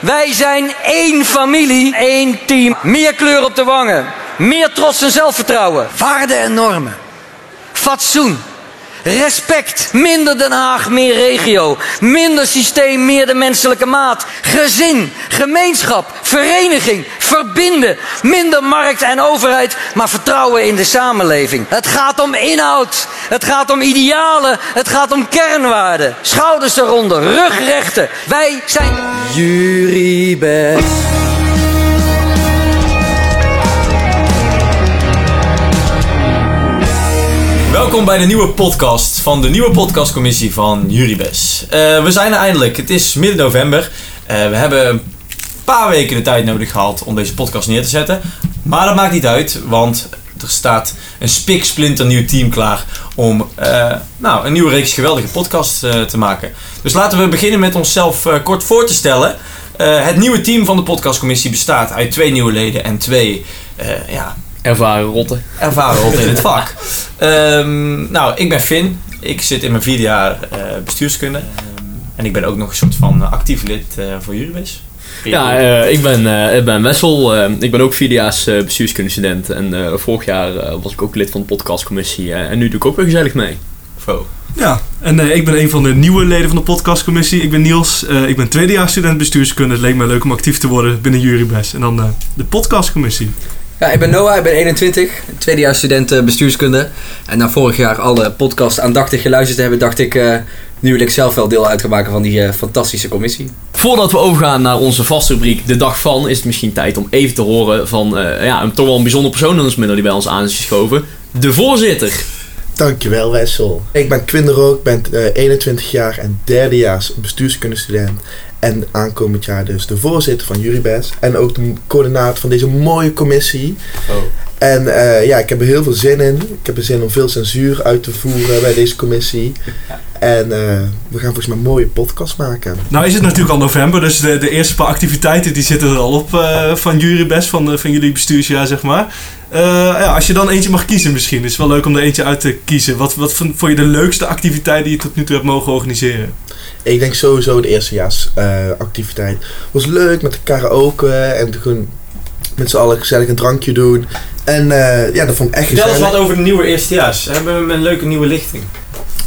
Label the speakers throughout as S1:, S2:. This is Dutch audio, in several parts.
S1: Wij zijn één familie, één team. Meer kleur op de wangen. Meer trots en zelfvertrouwen. Waarden en normen. Fatsoen. Respect. Minder Den Haag, meer regio. Minder systeem, meer de menselijke maat. Gezin, gemeenschap, vereniging, verbinden. Minder markt en overheid, maar vertrouwen in de samenleving. Het gaat om inhoud. Het gaat om idealen. Het gaat om kernwaarden. Schouders eronder, rug rechten. Wij zijn. Jury
S2: Welkom bij de nieuwe podcast van de nieuwe podcastcommissie van Juribes. Eh, we zijn er eindelijk. Het is midden november. Eh, we hebben een paar weken de tijd nodig gehad om deze podcast neer te zetten. Maar dat maakt niet uit, want er staat een spiksplinter nieuw team klaar om eh, nou, een nieuwe reeks geweldige podcasts eh, te maken. Dus laten we beginnen met onszelf eh, kort voor te stellen. Eh, het nieuwe team van de podcastcommissie bestaat uit twee nieuwe leden en twee eh, ja,
S3: Ervaren rotten.
S2: ervaren rot in het vak. Ehm, nou, ik ben Finn. Ik zit in mijn vierde jaar eh, bestuurskunde. Ehm, en ik ben ook nog een soort van eh, actief lid eh, voor Juribis.
S3: Ja, eh, ik, ben, eh, ik ben Wessel. eh, ik ben ook vierdejaars eh bestuurskundestudent. En eh, vorig jaar eh, was ik ook lid van de podcastcommissie. eh, en nu doe ik ook weer gezellig mee.
S2: Zo.
S4: Ja, en eh, ik ben een van de nieuwe leden van de podcastcommissie. Ik ben Niels. eh, ik ben tweedejaars student bestuurskunde. Het leek me leuk om actief te worden binnen Juribes. En dan eh, de podcastcommissie.
S5: Ja, ik ben Noah, ik ben 21, tweedejaars student eh, bestuurskunde. En na vorig jaar alle podcasts aandachtig geluisterd te hebben, dacht ik, eh, nu wil ik zelf wel deel uit gaan maken van die eh, fantastische commissie.
S3: Voordat we overgaan naar onze vaste rubriek De Dag Van... is het misschien tijd om even te horen van eh, ja, een, toch wel een bijzonder persoon in ons midden die bij ons aan is geschoven. De voorzitter.
S6: Dankjewel Wessel. Ik ben Quinn de Rook, ben eh, 21 jaar en derdejaars bestuurskundestudent. En aankomend jaar dus de voorzitter van Juribes. En ook de coördinator van deze mooie commissie.
S2: Oh.
S6: En eh, ja, ik heb er heel veel zin in. Ik heb er zin om veel censuur uit te voeren bij deze commissie. En eh, we gaan volgens mij een mooie podcast maken.
S4: Nou is het natuurlijk al november, dus de, de eerste paar activiteiten die zitten er al op eh, van Juribes, van, eh, van jullie bestuursjaar zeg maar. Eh, ja, als je dan eentje mag kiezen misschien, is het wel leuk om er eentje uit te kiezen. Wat, wat vond vond je de leukste activiteit die je tot nu toe hebt mogen organiseren?
S6: Ik denk sowieso de eerstejaarsactiviteit. eh, activiteit was leuk met de karaoke en gewoon met z'n allen gezellig een drankje doen. En eh, ja, dat vond ik echt
S2: Vertel eens
S6: gezellig.
S2: wat over de nieuwe eerstejaars. Hebben we een leuke nieuwe lichting?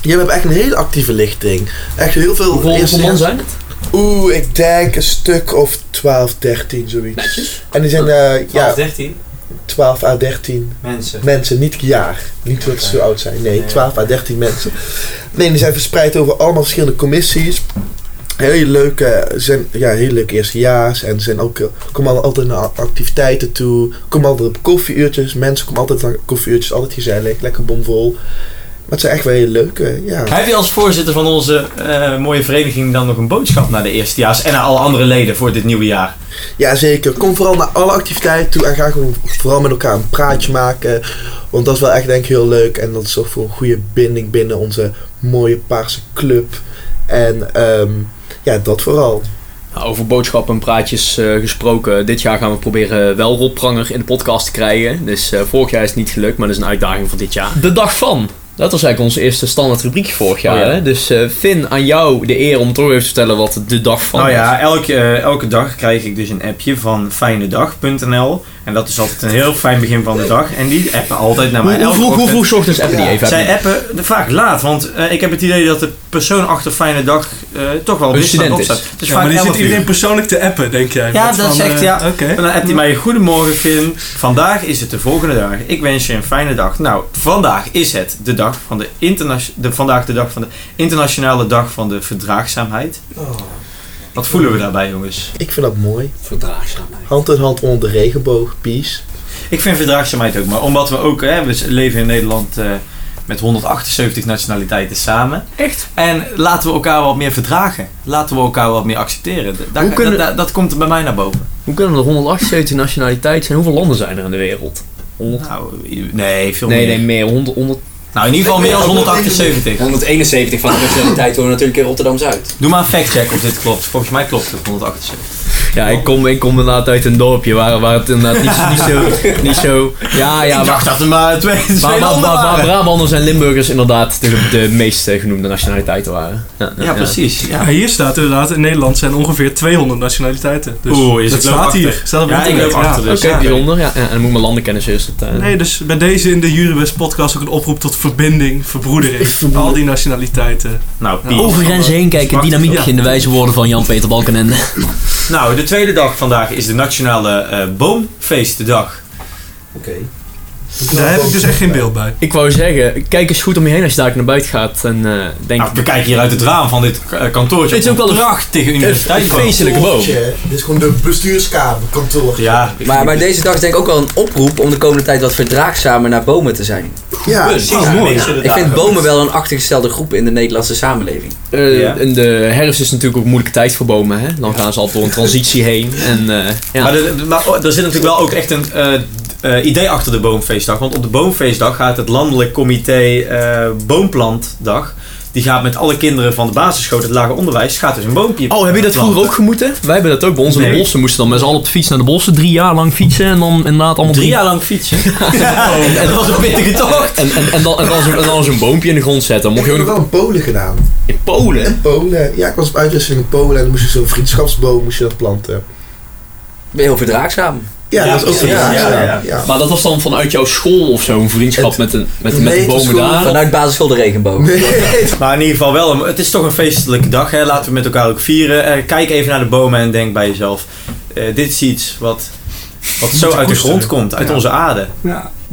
S6: Je hebt echt een hele actieve lichting. Echt heel
S3: Hoeveel
S6: veel
S3: hoeveel man
S6: eerstejaars-
S3: zijn het?
S6: Oeh, ik denk een stuk of 12, 13, zoiets. En die zijn eh,
S2: 12,
S6: ja,
S2: 13
S6: 12 à 13
S2: mensen.
S6: mensen, niet jaar. Niet dat ze zo oud zijn. Nee,
S2: Nee.
S6: 12 à 13 mensen. Nee, die zijn verspreid over allemaal verschillende commissies. Hele leuke, ze zijn, ja, hele leuke eerstejaars. En ze zijn ook, eh, komen al- altijd naar activiteiten toe. Komen altijd op koffieuurtjes. Mensen komen altijd naar koffieuurtjes. Altijd gezellig, lekker bomvol. Maar het zijn echt wel hele leuke, ja.
S2: Heb je als voorzitter van onze eh, mooie vereniging dan nog een boodschap naar de eerstejaars en naar alle andere leden voor dit nieuwe jaar?
S6: Ja, zeker. Kom vooral naar alle activiteiten toe en ga gewoon vooral met elkaar een praatje maken. Want dat is wel echt denk ik heel leuk en dat zorgt voor een goede binding binnen onze mooie paarse club. En ehm, ja, dat vooral.
S3: Nou, over boodschappen en praatjes eh, gesproken. Dit jaar gaan we proberen wel Rob Pranger in de podcast te krijgen. Dus eh, vorig jaar is het niet gelukt, maar dat is een uitdaging voor dit jaar. De dag van. Dat was eigenlijk onze eerste standaard rubriekje vorig jaar.
S2: Oh ja.
S3: hè? Dus eh Finn, aan jou de eer om toch even te vertellen wat de dag van
S2: Nou
S3: is.
S2: ja, elke, eh, elke dag krijg ik dus een appje van fijnedag.nl. En dat is altijd een heel fijn begin van de dag. En die appen altijd naar
S3: Hoe,
S2: mij.
S3: hoe,
S2: Elke
S3: vroeg, hoe
S2: ochtend.
S3: vroeg 's ochtends appen die
S6: Ja.
S3: even?
S2: Zij appen de- vaak laat, want eh, ik heb het idee dat de persoon achter Fijne Dag eh, toch wel
S3: Een
S2: wisselend
S3: student
S2: opstaat.
S3: is.
S2: Het is
S4: Ja,
S2: vaak
S4: maar die
S2: 11
S4: zit
S2: uur.
S4: iedereen persoonlijk te appen, denk jij?
S2: Ja,
S4: Met
S2: dat
S4: van,
S2: zegt
S4: eh,
S2: ja.
S4: Oké.
S2: En dan appt hij mij, goedemorgen Finn, vandaag is het de volgende dag. Ik wens je een fijne dag. Nou, vandaag is het de dag van de, internation- de, vandaag de, dag van de internationale dag van de verdraagzaamheid. Wat voelen we daarbij jongens?
S6: Ik vind dat mooi.
S5: Verdraagzaamheid.
S6: Hand in hand onder de regenboog, peace.
S2: Ik vind verdraagzaamheid ook, maar omdat we ook, hè, we leven in Nederland eh, met 178 nationaliteiten samen.
S3: Echt?
S2: En laten we elkaar wat meer verdragen. Laten we elkaar wat meer accepteren. Da- daar-
S3: Hoe kunnen-
S2: da- da- dat komt bij mij naar boven.
S3: Hoe kunnen er 178 nationaliteiten zijn? Hoeveel landen zijn er in de wereld? 100?
S2: Nou, nee, veel meer.
S3: nee, nee, meer. 100, 100,
S2: Nou, in ieder geval meer dan 178.
S5: 171 van de tijd wonen natuurlijk in Rotterdam-Zuid.
S2: Doe maar een factcheck of dit klopt. Volgens mij klopt het 178.
S3: Ja, ik kom, ik kom inderdaad uit een dorpje waar, waar het inderdaad niet, niet, zo, niet zo... Ja, ja, maar,
S2: dat er maar twee, twee
S3: maar, maar, maar- maar Brabanders en Limburgers inderdaad de, de meest eh, genoemde nationaliteiten waren.
S2: Ja, precies. Ja.
S4: Ja, hier staat inderdaad, in Nederland zijn ongeveer 200 nationaliteiten. Dus
S2: Oeh, is
S4: dat
S2: het leuk
S4: staat
S2: achter.
S4: hier. Staat op
S2: Ja, ik
S4: internet,
S2: loop achter
S3: Oké,
S2: dus. ja.
S3: bijzonder. Ja, en dan moet ik mijn landenkennis eerst... Het, eh,
S4: Nee, dus bij deze in de Juribest podcast ook een oproep tot verbinding, verbroedering. al die nationaliteiten.
S2: Nou, Piet.
S4: Ja.
S3: Over grenzen heen kijken,
S4: Smakelijk,
S3: dynamiek
S4: ja.
S3: in de wijze woorden van Jan-Peter Balkenende.
S2: Nou, de tweede dag vandaag is de Nationale eh, Boomfeestendag.
S5: Oké.
S4: Daar heb ik dus echt geen beeld bij.
S3: Ik wou zeggen, kijk eens goed om je heen als je daar naar buiten gaat en eh, denk...
S2: Nou, we kijken hier uit het raam van dit eh, kantoortje.
S3: Dit is ook wel
S2: een
S3: een-
S2: prachtige universiteit.
S3: een feestelijke boom.
S6: Dit is gewoon de bestuurskamer, kantoor.
S2: Ja,
S5: Maar, maar deze dag is denk ik ook wel een oproep om de komende tijd wat verdraagzamer naar bomen te zijn.
S6: Ja,
S2: precies.
S3: Oh,
S2: Ja, mensen
S5: Ik vind
S2: inderdaad.
S5: bomen wel een achtergestelde groep in de Nederlandse samenleving.
S3: Eh,
S2: Ja.
S3: En de herfst is natuurlijk ook een moeilijke tijd voor bomen, hè? Dan gaan ze altijd door een transitie heen en eh, ja.
S2: Maar, de- de- maar oh, er zit natuurlijk wel ook echt een eh, eh, idee achter de Boomfeestdag. Want op de Boomfeestdag gaat het Landelijk Comité eh, Boomplantdag. Die gaat met alle kinderen van de basisschool, het lager onderwijs, gaat dus een boompje.
S3: Oh, heb je dat
S2: planten.
S3: vroeger ook gemoeten? Wij hebben dat ook bij ons in
S2: Nee.
S3: de bossen. Moesten dan met z'n allen op de fiets naar de bossen, drie jaar lang fietsen en dan inderdaad allemaal
S2: Drie jaar lang fietsen. En dat was een pittige tocht.
S3: En, en, en dan, en dan zo'n en dan zo'n boompje in de grond zetten.
S6: Ik
S3: Mocht je
S6: heb
S3: ook
S6: nog
S3: nog
S6: wel in Polen gedaan.
S3: in Polen.
S6: Polen. Ja, ik was op uitwisseling in Polen en dan moest je zo'n vriendschapsboom moest je dat planten.
S5: Ben je heel verdraagzaam?
S6: Ja,
S2: Ja,
S6: dat was ook
S2: precies.
S6: ja,
S2: Ja,
S6: ja,
S2: ja.
S3: Maar dat was dan vanuit jouw school of zo, een vriendschap
S6: Het-
S3: met, een, met,
S6: nee,
S3: met de
S6: het was
S3: bomen
S6: gewoon
S3: daar.
S5: Vanuit basisschool de regenboog.
S6: Nee,
S2: Maar in ieder geval wel, een- het is toch een feestelijke dag. Hè? Laten we met elkaar ook vieren. Eh, kijk even naar de bomen en denk bij jezelf. eh, dit is iets wat, wat zo uit de
S4: koesteren.
S2: grond komt, uit onze aarde.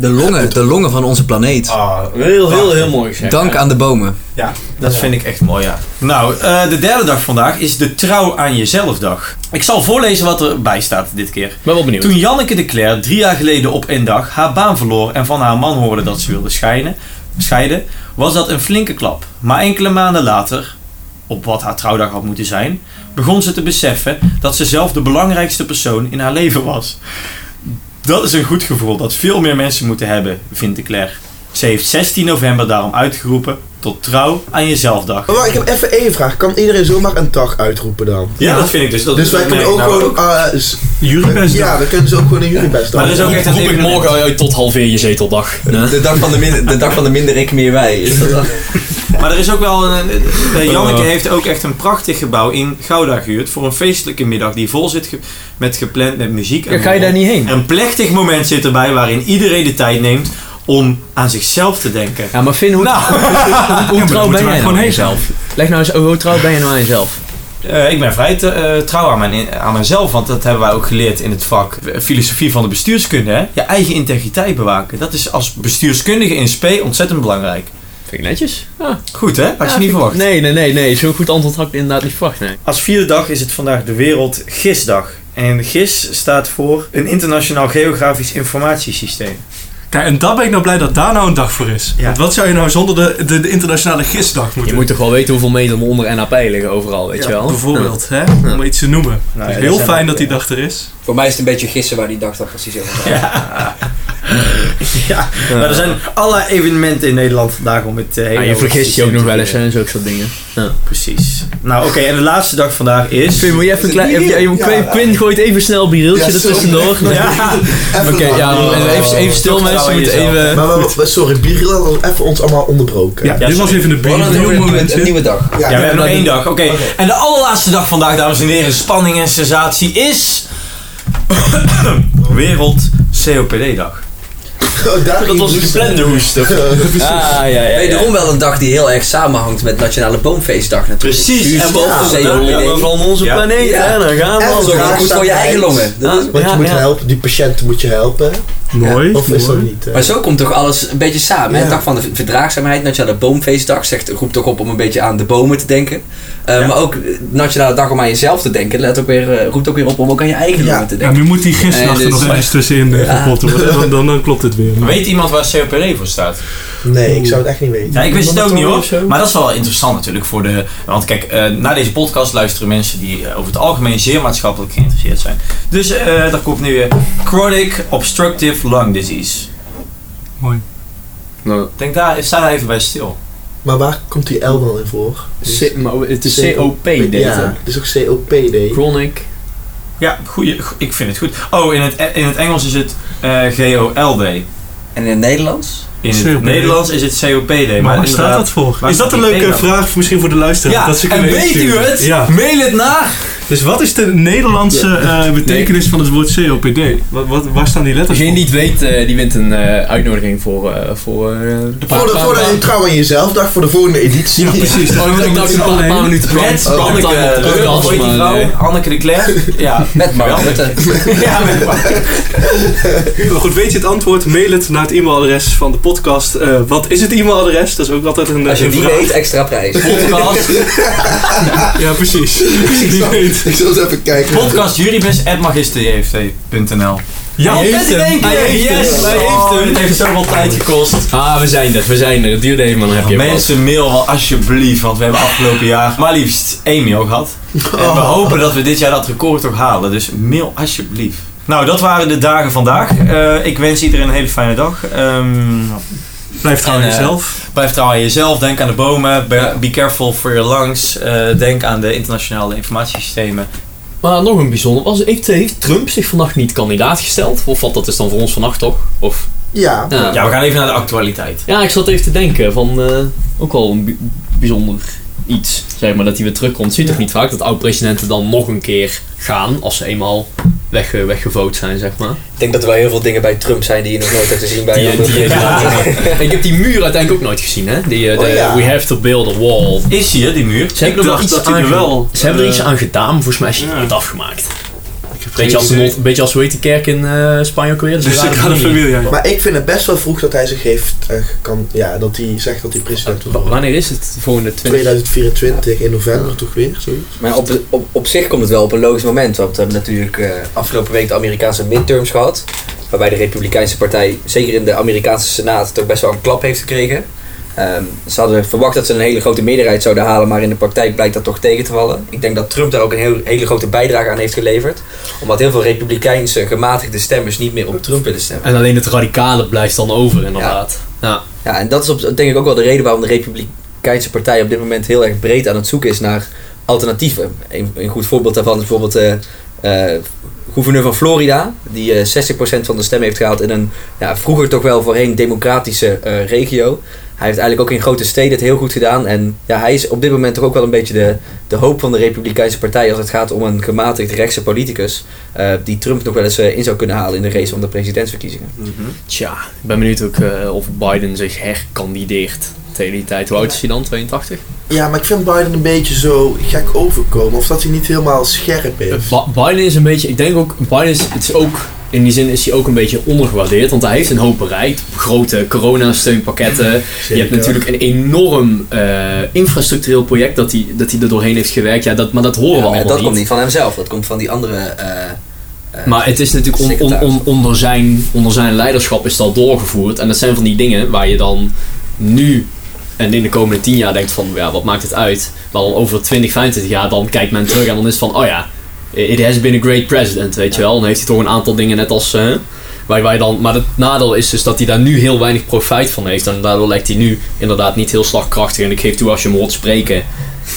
S5: De longen, de longen van onze planeet.
S2: Ah,
S3: Nou, Heel, heel, heel mooi gezegd.
S5: Dank aan de bomen.
S2: Ja, dat vind ik echt mooi, ja. Nou, eh, de derde dag vandaag is de Trouw aan Jezelf dag. Ik zal voorlezen wat erbij staat dit keer.
S3: Ik ben wel benieuwd.
S2: Toen Janneke de Cler drie jaar geleden op één dag haar baan verloor en van haar man hoorde dat ze wilde scheiden, scheiden, was dat een flinke klap. Maar enkele maanden later, op wat haar trouwdag had moeten zijn, begon ze te beseffen dat ze zelf de belangrijkste persoon in haar leven was. Dat is een goed gevoel dat veel meer mensen moeten hebben, vindt de Cler. Ze heeft 16 november daarom uitgeroepen tot trouw aan jezelfdag.
S6: Maar ik heb even één vraag. Kan iedereen zomaar een dag uitroepen dan?
S2: Ja, dat vind ik dus. Dat
S6: Dus wij
S2: dat
S6: kunnen
S2: merk
S6: ook
S2: ik nou
S6: gewoon... ah, s-
S4: Juribest
S6: ja, dan kunnen ze ook gewoon een jurybest
S2: Maar
S6: dan.
S2: dat is ook echt een
S3: Roep ik
S2: evenement.
S3: morgen uit tot halveer je zeteldag. Nee.
S5: De dag van de, min, de dag van de minder ik meer wij. Is dat dan?
S2: Maar er is ook wel een. een- een-
S3: Eh.
S2: Janneke heeft ook echt een prachtig gebouw in Gouda gehuurd. voor een feestelijke middag die vol zit ge- met gepland met muziek. En
S3: Ja, ga je daar niet heen?
S2: Een plechtig moment zit erbij waarin iedereen de tijd neemt om aan zichzelf te denken.
S3: Ja, maar Finn, hoe,
S2: Nou.
S3: hoe- hoe trouw ben
S4: wij
S3: jij nou
S4: gewoon
S3: aan
S4: heen
S3: jezelf? Leg nou eens, hoe trouw ben je nou aan jezelf?
S2: Eh, ik ben vrij te- eh, trouw aan, mijn, aan mezelf, want dat hebben wij ook geleerd in het vak eh, filosofie van de bestuurskunde. Hè? Je eigen integriteit bewaken. Dat is als bestuurskundige in SP ontzettend belangrijk.
S3: Vind ik netjes. Ja.
S2: Goed hè? Had je
S3: Ja,
S2: niet
S3: vind-
S2: verwacht.
S3: Nee, nee, nee, nee. Zo'n goed antwoord had ik inderdaad niet verwacht, nee.
S2: Als vierde dag is het vandaag de Wereld GIS-dag. En GIS staat voor een internationaal geografisch informatiesysteem.
S4: Kijk, en daar ben ik nou blij dat daar nou een dag voor is.
S2: Ja.
S4: Want wat zou je nou zonder de, de, de internationale gistdag
S3: Je
S4: moeten
S3: moet toch wel weten hoeveel meter onder NAP liggen overal, weet je wel?
S4: Bijvoorbeeld, hè? Om iets te noemen.
S2: ja,
S4: Dus
S2: dat
S4: heel
S2: zijn
S4: fijn
S2: ook,
S4: dat die
S2: ja.
S4: dag er is.
S5: Voor mij is het een beetje gissen waar die dag dan precies over gaat.
S2: Ja, maar er zijn allerlei evenementen in Nederland vandaag om het eh, hele...
S3: Ja, Ah, je vergist je ook nog wel eens
S2: hè?
S3: en zulke soort dingen.
S2: Precies. Nou oké, en de laatste dag vandaag is...
S3: Quinn, moet je even een klein... even- even- Quinn, Quinn gooit even snel een bierieltje
S6: Ja,
S3: er
S6: sorry.
S3: tussendoor.
S2: Ja,
S6: Even
S3: Oké,
S6: een dag.
S3: ja,
S2: Oh.
S3: even, even stil
S2: Toch
S3: mensen, we
S2: trouw aan
S3: moeten
S2: jezelf.
S3: even...
S6: Maar we- we- sorry, Birgit had even ons allemaal onderbroken.
S4: Ja, dit was
S2: sorry.
S4: even de
S5: We hadden
S4: bier.
S5: het
S4: Heel
S5: over een nieuwe-
S4: momentje.
S5: een nieuwe dag.
S2: Ja, we hebben nog één dag. Oké, en de allerlaatste dag vandaag, dames en heren, spanning en sensatie is... Wereld COPD-dag.
S6: Oh, daar ging het niet.
S3: hoest.
S6: Ja, precies.
S3: Ah, ja, ja, ja.
S5: Wederom wel een dag die heel erg samenhangt met Nationale Boomfeestdag natuurlijk.
S2: Precies, en boven
S5: Ja,
S2: de
S5: ja.
S3: Van onze
S2: Ja.
S3: planeet,
S5: Ja.
S3: hè, daar gaan we
S6: En
S3: al.
S5: Zo
S6: vandaag
S5: goed
S6: staat
S5: voor je
S6: de
S5: eigen
S6: eind.
S5: longen. Dat is-
S6: Want je
S3: Ja,
S6: moet
S3: ja.
S6: helpen, die patiënten moet je helpen.
S4: Mooi.
S6: Of is dat
S4: mooi.
S6: niet? eh?
S5: Maar zo komt toch alles een beetje samen. hè?
S6: Ja.
S5: Dag van de verdraagzaamheid, Nationale Boomfeestdag. Zegt, roept toch op om een beetje aan de bomen te denken. Eh, Maar ook eh, Nationale Dag om aan jezelf te denken. Let ook weer, eh, roept ook weer op om ook aan je eigen
S6: Ja.
S5: longen te
S4: Ja,
S5: denken.
S4: nu moet die gistdag
S5: Nee,
S4: er
S5: dit
S4: nog
S5: is waar.
S4: ergens tussenin eh,
S5: Ja.
S4: gepot worden. Dan, dan, dan klopt het weer. Maar-
S2: Weet iemand waar COPD voor staat?
S6: Nee, ik zou het echt niet weten.
S2: Ja, ik wist het ook niet
S3: of zo?
S2: hoor. Maar dat is wel interessant natuurlijk voor de. Want kijk, eh naar deze podcast luisteren mensen die eh, over het algemeen zeer maatschappelijk geïnteresseerd zijn. Dus eh, daar komt nu eh, Chronic Obstructive Lung Disease.
S4: Mooi.
S3: Nou,
S2: Ik denk, daar is zij even bij stil.
S6: Maar waar komt die L dan in voor?
S3: C- maar het is COP, dit. eh,
S6: Ja, het is ook COPD.
S3: Chronic.
S2: Ja, goeie, go- ik vind het goed. Oh, in het, in het Engels is het eh, GOLD.
S5: En in het Nederlands?
S2: In het
S4: COPD.
S2: Nederlands is het COPD. Maar
S4: Maar waar staat
S2: inderdaad-
S4: dat voor?
S2: waar
S4: Is dat
S2: staat
S4: een
S2: die
S4: leuke
S2: P dan?
S4: vraag misschien voor de luisteraar?
S2: Ja,
S4: dat ze
S2: en
S4: kunnen
S2: weet u
S4: insturen?
S2: het?
S4: Ja.
S2: Mail het naar
S4: Dus wat is de Nederlandse eh, betekenis van het woord COPD? Wat, wat, waar staan die letters
S3: Degene
S4: voor?
S3: die het weet, eh, die wint een eh, uitnodiging voor... eh, voor eh, de
S6: Voor de, voor de trouw aan jezelf, dag voor de volgende editie.
S4: Ja, precies.
S3: Oh, ik dacht een paar, paar minuten
S2: Met
S3: Oh,
S2: Anneke,
S3: dat allemaal
S2: eh,
S3: podcast,
S2: hoe heet die
S3: maar,
S2: vrouw?
S3: eh,
S2: Anneke de Klerk. Ja,
S5: Met Mark
S2: Ja.
S5: Rutte.
S2: ja met Mark.
S4: Maar goed, weet je het antwoord? Mail het naar het e-mailadres van de podcast. Eh, wat is het e-mailadres? Dat is ook altijd een,
S5: Als je
S4: een
S5: die
S4: vraag.
S5: weet, extra prijs.
S2: podcast.
S4: Ja, precies.
S6: Ik
S4: Die
S6: zal,
S4: weet.
S6: ik zal eens even kijken.
S2: podcastjuribus.magisterjvv.nl
S4: Ja,
S2: Hij heeft hem. Hij heeft hem.
S4: Yes,
S2: Hij heeft
S4: hij
S2: hem.
S4: heeft
S2: Het heeft zoveel tijd gekost.
S3: Ah, we zijn er, we zijn er. Het duurde even, maar dan heb je hem
S2: Mensen, mail wel alsjeblieft, want we hebben afgelopen jaar maar liefst één mail gehad. En we hopen dat we dit jaar dat record toch halen, dus mail alsjeblieft. Nou, dat waren de dagen vandaag. Eh, ik wens iedereen een hele fijne dag. Ehm,
S4: Blijf trouw aan
S2: En, eh,
S4: jezelf.
S2: blijf trouw aan jezelf, denk aan de bomen, be, be careful for your lungs, eh, denk aan de internationale informatiesystemen.
S3: Maar nog een bijzonder was, heeft, heeft Trump zich vannacht niet kandidaat gesteld? Of wat, dat is dan voor ons vannacht toch? Of,
S6: Ja,
S3: ja.
S2: Ja, we gaan even naar de actualiteit.
S3: Ja, ik zat even te denken van eh, ook wel een bi- bijzonder iets, zeg maar, dat hij weer terugkomt. Ziet toch niet vaak dat oud-presidenten dan nog een keer gaan als ze eenmaal weg, eh, weggevoot zijn, zeg maar.
S5: Ik denk dat er wel heel veel dingen bij Trump zijn die je nog nooit hebt gezien bij
S3: Die, eh,
S5: een andere
S3: die,
S5: president.
S3: Ik heb die muur uiteindelijk ook nooit gezien, hè? Die, eh, de,
S6: Oh, ja.
S3: We have to build a wall.
S2: Is hier die muur?
S3: Ze hebben er wel iets aan ge- Ze hebben er iets aan gedaan, maar volgens mij is die
S4: eh, Ja.
S3: nooit afgemaakt.
S4: geen
S3: Beetje als,
S4: idee.
S3: een beetje als, hoe heet die kerk in eh, Spanje ook weer? Dus
S4: Dus ik ga de familie aan.
S6: maar ik vind het best wel vroeg dat hij zich heeft... eh, kan, ja, dat hij zegt dat hij president wil worden.
S3: Wanneer is het? De volgende 20?
S6: 2024 in november toch weer, zoiets?
S5: Maar op, op, op zich komt het wel op een logisch moment. Want we hebben natuurlijk eh, afgelopen week de Amerikaanse midterms gehad. Waarbij de Republikeinse Partij, zeker in de Amerikaanse Senaat, toch best wel een klap heeft gekregen. Ehm, ze hadden verwacht dat ze een hele grote meerderheid zouden halen, maar in de praktijk blijkt dat toch tegen te vallen. Ik denk dat Trump daar ook een heel, hele grote bijdrage aan heeft geleverd. Omdat heel veel Republikeinse gematigde stemmers niet meer op Trump willen stemmen.
S3: En alleen het radicale blijft dan over, inderdaad. ja.
S5: Ja, en dat is op, denk ik ook wel de reden waarom de Republikeinse Partij op dit moment heel erg breed aan het zoeken is naar alternatieven. Een, een goed voorbeeld daarvan is bijvoorbeeld de gouverneur van Florida, die eh, 60% van de stem heeft gehaald in een ja, vroeger toch wel voorheen democratische eh, regio. Hij heeft eigenlijk ook in grote steden het heel goed gedaan. En ja, hij is op dit moment toch ook wel een beetje de, de hoop van de Republikeinse Partij als het gaat om een gematigd rechtse politicus. eh, die Trump nog wel eens eh, in zou kunnen halen in de race om de presidentsverkiezingen.
S3: Tja, ik ben benieuwd ook eh, of Biden zich herkandideert tegen die tijd. Hoe oud is hij dan? 82?
S6: Ja, maar ik vind Biden een beetje zo gek overkomen. Of dat hij niet helemaal scherp is.
S3: Ba- Biden is een beetje, ik denk ook, Biden is, het is ook, in die zin is hij ook een beetje ondergewaardeerd. Want hij heeft een hoop bereikt. Grote corona-steunpakketten. Je hebt
S6: Zeker.
S3: natuurlijk een enorm eh, infrastructureel project dat hij, dat hij er doorheen heeft gewerkt. Ja, dat, maar dat horen
S5: Ja,
S3: we
S5: maar
S3: allemaal
S5: dat
S3: niet.
S5: komt niet van hemzelf, dat komt van die andere. eh, eh,
S3: Maar het is natuurlijk on- on- on- onder, zijn, onder zijn leiderschap is dat doorgevoerd. En dat zijn van die dingen waar je dan nu en in de komende tien jaar denkt van, ja, wat maakt het uit? Maar dan over 20, 25 jaar, dan kijkt men terug en dan is het van, oh ja, it has been a great president, weet je wel. Dan heeft hij toch een aantal dingen net als... eh, waar, waar je dan, maar het nadeel is dus dat hij daar nu heel weinig profijt van heeft. En daardoor lijkt hij nu inderdaad niet heel slagkrachtig. En ik geef toe, als je hem hoort spreken...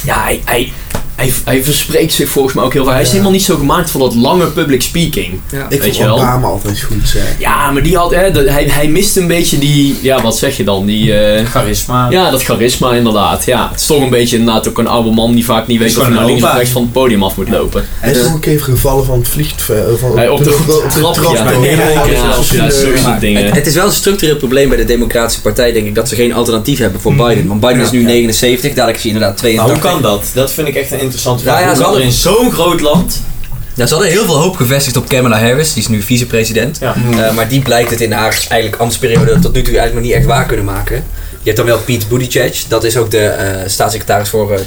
S3: Ja, hij, hij, hij, hij verspreekt zich volgens mij ook heel veel. Hij is
S6: Ja.
S3: helemaal niet zo gemaakt voor dat lange public speaking.
S6: ik
S3: weet
S6: vind
S3: je wel.
S6: Obama altijd goed zeggen.
S3: Ja, maar die had, hè, de- hij, hij mist een beetje die, ja, wat zeg je dan? Die, eh,
S2: Charisma.
S3: ja, dat charisma inderdaad. Ja, het is toch een beetje inderdaad ook een oude man die vaak niet weet
S2: Is
S3: of hij
S2: gewoon
S3: naar
S2: een
S3: links of
S2: opa.
S3: rechts van het podium af moet lopen.
S6: Hij is
S5: Dus-
S6: nog een keer gevallen van het vliegtuig. eh, Van,
S3: Hij op de
S6: op
S3: trap,
S6: trap,
S3: ja.
S6: door.
S3: Nee,
S6: Ja,
S3: ja,
S6: dat is eh,
S3: ja,
S6: alsof je
S3: ja,
S6: de-
S3: sowieso.
S5: maar
S3: dingen.
S5: Het, het is wel een structureel probleem bij de Democratische Partij, denk ik, dat ze geen alternatief hebben voor Biden. Want Biden is nu 79, dadelijk is hij inderdaad
S2: Maar hoe
S5: 82.
S2: kan dat? Dat vind ik echt een interessante vraag.
S5: Nou ja,
S2: Hoe
S5: ze
S2: kan er
S5: hadden-
S2: in zo'n groot land...
S5: Nou, ze hadden heel veel hoop gevestigd op Kamala Harris, die is nu vicepresident.
S2: Ja.
S5: Eh, maar die blijkt het in haar eigenlijk ambtsperiode tot nu toe eigenlijk nog niet echt waar kunnen maken. Je hebt dan wel Pete Buttigieg, dat is ook de eh, staatssecretaris voor eh,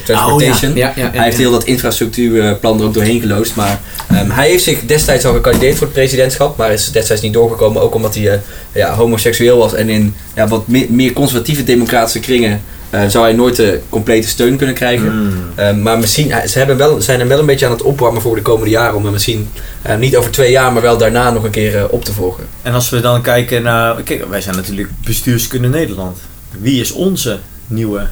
S3: Nou,
S5: Transportation.
S3: Oh, Ja, ja,
S5: Hij heeft heel dat infrastructuurplan er ook doorheen geloosd. Maar ehm, hij heeft zich destijds al gekandideerd voor het presidentschap. Maar is destijds niet doorgekomen. Ook omdat hij eh, ja, homoseksueel was. En in ja, wat meer, meer conservatieve democratische kringen eh, zou hij nooit de complete steun kunnen krijgen.
S3: Hmm.
S5: Eh, maar misschien, eh, ze hebben wel, zijn hem wel een beetje aan het opwarmen voor de komende jaren. Om hem misschien eh, niet over twee jaar, maar wel daarna nog een keer eh, op te volgen.
S2: En als we dan kijken naar. Kijk, wij zijn natuurlijk bestuurskunde Nederland. Wie is onze nieuwe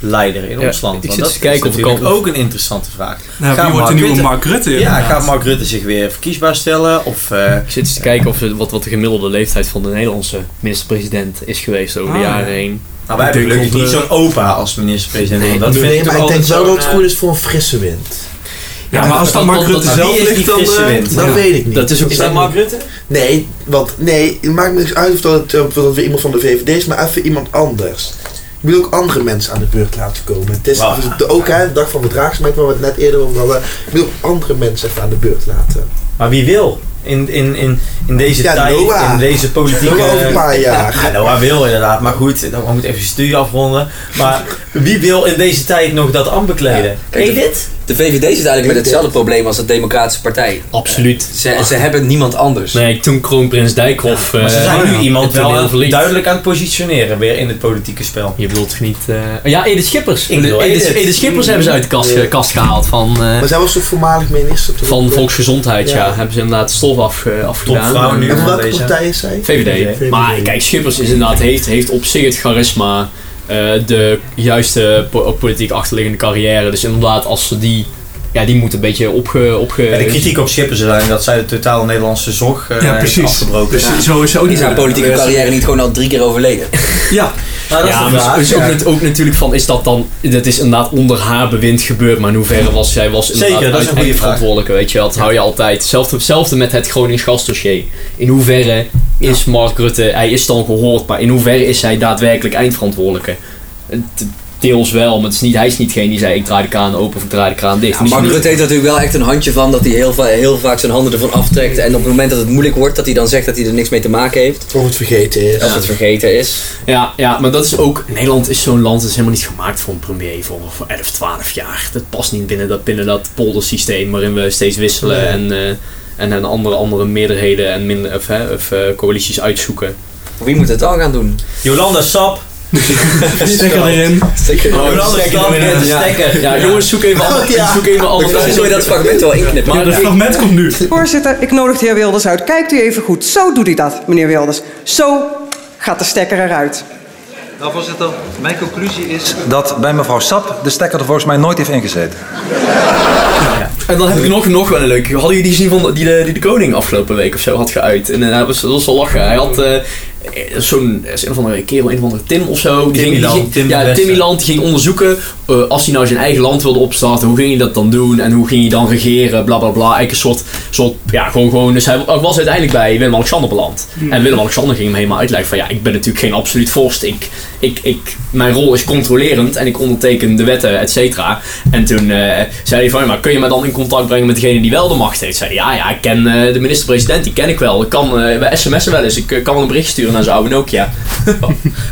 S2: leider in
S3: Ja,
S2: ons land?
S3: ik
S2: Want
S3: zit
S2: dat
S3: te kijken
S2: is
S3: of ik
S2: natuurlijk
S3: al-
S2: ook een interessante vraag.
S4: Nou,
S2: Gaat
S4: wie wordt de
S2: Mark
S4: nieuwe
S2: Rutte-
S4: Mark Rutte?
S2: Ja,
S4: inderdaad?
S2: gaat Mark Rutte zich weer verkiesbaar stellen? Of eh,
S3: Ik zit eens te kijken of, wat, wat de gemiddelde leeftijd van de Nederlandse minister-president is geweest over de
S4: Ah, ja.
S3: jaren heen.
S2: Nou, wij hebben
S4: Ik denk
S2: gelukkig
S4: dat,
S2: niet
S4: eh,
S2: zo'n opa als minister-president. want dat vind
S6: nee,
S2: ik
S6: maar
S2: toch
S6: ik denk
S2: altijd
S6: wel dat het
S2: zo'n,
S6: goed is voor een frisse wind.
S4: Ja, maar als dat Mark
S3: Want- want-
S4: Rutte
S3: want
S2: wie
S4: zelf
S2: is die
S4: ligt, dan...
S2: frisse
S4: eh,
S2: wind?
S6: Dat
S4: ja.
S6: weet ik niet.
S3: Dat is ook
S2: eh, Is dat Mark Rutte?
S6: Nee, want nee, het maakt me niks uit of dat, het, eh, of dat weer iemand van de VVD is, maar even iemand anders. Ik wil ook andere mensen aan de beurt laten komen. Het is,
S2: Wauw.
S6: het is de- ook hè, de dag van verdraagsmaak, waar we het net eerder over hadden. Ik wil ook andere mensen even aan de beurt laten.
S2: Maar wie wil? In, in, in, in deze
S6: Ja,
S2: tijd,
S6: Noah.
S2: in deze politieke...
S6: Noah over een paar jaar.
S2: Ja, nou, Noah wil inderdaad. Maar goed, dan moet ik even studie afronden. Maar wie wil in deze tijd nog dat ambt bekleden?
S5: kijk, de-
S2: Edith?
S5: De VVD zit eigenlijk met hetzelfde probleem als de Democratische Partij.
S2: Eh,
S3: Absoluut.
S1: Ah.
S5: Ze, ze hebben niemand anders.
S3: Nee, toen kroonprins Dijkhoff...
S2: Maar ze
S3: eh,
S2: zijn nu
S3: het
S2: iemand wel
S3: toneel
S2: aan-
S3: verliet.
S2: duidelijk aan het positioneren weer in het politieke spel.
S3: Je bedoelt niet... eh, Ja, Edith Schippers.
S2: Ik bedoel,
S3: Edith,
S2: Edith.
S3: Edith Schippers hebben ze uit de kast, ge- kast gehaald van... eh,
S6: Maar zij was toch voormalig minister? Toch?
S3: van Volksgezondheid, ja.
S6: Ja.
S3: Hebben ze inderdaad stof af, eh, afgedaan.
S2: Topvrouw nu.
S6: En van welke
S2: Deze.
S6: partij is zij?
S3: VVD.
S2: VVD.
S3: Maar kijk, Schippers is inderdaad, heeft, heeft op zich het charisma, eh, de juiste po- ook politiek achterliggende carrière. Dus inderdaad, als ze die, ja, die moet een beetje opge... opge
S2: En de kritiek op Schippers zijn dat zij de totale Nederlandse zorg eh
S4: Ja,
S2: heeft
S4: precies.
S2: afgebroken.
S4: Dus zo is ook
S5: Die
S4: niet
S5: zijn politieke carrière niet gewoon al drie keer overleden.
S4: Ja,
S2: Nou, dat is
S3: ja,
S2: de
S3: maar
S2: vraag.
S3: dus ook,
S2: Ja.
S3: net- ook natuurlijk van, is dat dan... Dat is inderdaad onder haar bewind gebeurd, maar in hoeverre was zij was inderdaad
S2: Zeker, dat is een goede
S3: uiteindelijk
S2: vraag.
S3: verantwoordelijke, weet je wel. Dat hou je altijd. Hetzelfde, hetzelfde met het Gronings gasdossier. In hoeverre is Mark Rutte... Hij is dan gehoord, maar in hoeverre is hij daadwerkelijk eindverantwoordelijke? Het- Deels wel, maar het is niet, hij is niet degene die zei ik draai de kraan open of ik draai de kraan dicht. Dus-
S5: Ja, Mark
S3: Misschien-
S5: Rutte heeft er natuurlijk wel echt een handje van dat hij heel, va- heel vaak zijn handen ervan aftrekt. En op het moment dat het moeilijk wordt, dat hij dan zegt dat hij er niks mee te maken heeft.
S6: Of het vergeten is.
S5: Of het vergeten is.
S3: Ja, ja, maar dat is ook. Nederland is zo'n land, dat is helemaal niet gemaakt voor een premier voor, voor 11, 12 jaar. Dat past niet binnen dat, binnen dat poldersysteem waarin we steeds wisselen en, eh, en, en andere, andere meerderheden en minder, of, hè, of, eh, coalities uitzoeken.
S5: Wie moet het dan gaan doen?
S2: Jolanda Sap.
S4: stekker erin.
S2: Jolanda Sap met de
S3: Ja.
S2: stekker.
S3: Ja, jongens, zoek even anders. Zoek even anders.
S5: Dan zul je dat fragment wel inknippen.
S4: Maar dat fragment komt nu.
S7: Voorzitter, ik nodig de heer Wilders uit. Kijkt u even goed. Zo doet hij dat, meneer Wilders. Zo gaat de stekker eruit.
S8: Nou, voorzitter, mijn conclusie is dat bij mevrouw Sap de stekker er volgens mij nooit heeft ingezeten.
S3: En dan heb ik nog, nog wel een leuke. Hadden jullie die zien van die de, die de koning afgelopen week of zo had geuit? En eh, hij was, dat was wel lachen. Hij had eh, zo'n eh, een of andere kerel, een of andere Tim of zo. Die ging, die
S2: Timmyland,
S3: ging-
S2: Tim
S3: ja,
S2: Westen.
S3: Timmyland die ging onderzoeken eh, als hij nou zijn eigen land wilde opstarten. Hoe ging hij dat dan doen en hoe ging hij dan regeren? Bla bla bla. Eigenlijk een soort, soort ja, gewoon, gewoon. Dus hij was uiteindelijk bij Willem-Alexander beland. En Willem-Alexander ging hem helemaal uitleggen van ja, ik ben natuurlijk geen absoluut vorst. Ik, ik, ik, mijn rol is controlerend en ik onderteken de wetten, et cetera. En toen eh, zei hij van, ja, maar kun je me dan in contact brengen met degene die wel de macht heeft? Zei hij, ja, ja, ik ken eh, de minister-president, die ken ik wel. Ik kan, eh wij sms'en wel eens, ik eh, kan wel een bericht sturen naar zijn oude Nokia.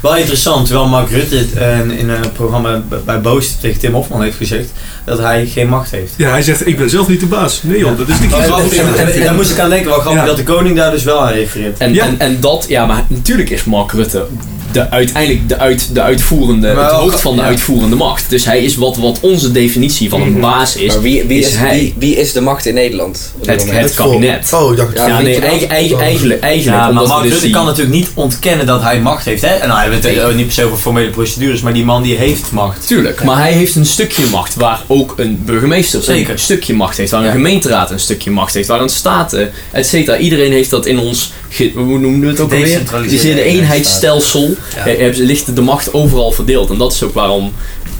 S2: Wel interessant, terwijl Mark Rutte eh, in een programma b- bij Boos tegen Tim Hofman heeft gezegd dat hij geen macht heeft.
S4: Ja, hij zegt, ik ben zelf niet de baas. Nee joh, Oh, dat is niet
S2: En,
S4: grappig.
S2: en- en- en daar moest ik aan denken, wel grappig
S4: Ja.
S2: dat de koning daar dus wel aan refereert.
S3: En,
S4: Ja.
S3: en, en dat, ja, maar natuurlijk is Mark Rutte de, uiteindelijk de, uit, de uitvoerende,
S2: Maar
S3: het
S2: wel-
S3: hoofd van de
S2: ja.
S3: uitvoerende macht. Dus hij is wat, wat onze definitie van een baas is,
S5: Maar wie, wie,
S3: is,
S5: is,
S3: hij.
S5: wie, wie is de macht in Nederland? op dit
S3: Het-
S5: moment?
S3: het kabinet.
S6: Oh, ik dacht
S5: Ja,
S3: ja,
S5: vind
S3: nee,
S5: je dat?
S3: eigen- eigen- eigenlijk, eigenlijk.
S2: Ja, maar
S3: omdat we
S2: Mark
S3: dus
S2: Rutte
S3: die-
S2: kan natuurlijk niet ontkennen dat hij macht heeft. Hè? En nou, hij heeft het eh, niet per se over formele procedures, maar die man die heeft macht.
S3: Tuurlijk, maar hij heeft een stukje macht waar ook een burgemeester
S2: Zeker.
S3: een stukje macht heeft, waar een
S2: Ja.
S3: gemeenteraad een stukje macht heeft, waar een staten, et cetera. Iedereen heeft dat in ons, ge- hoe noemen we het ook alweer?
S2: Gedecentraliseerde
S3: Dus in de eenheidsstelsel
S2: Ja.
S3: eh, hebben ze- ligt de macht overal verdeeld. En dat is ook waarom,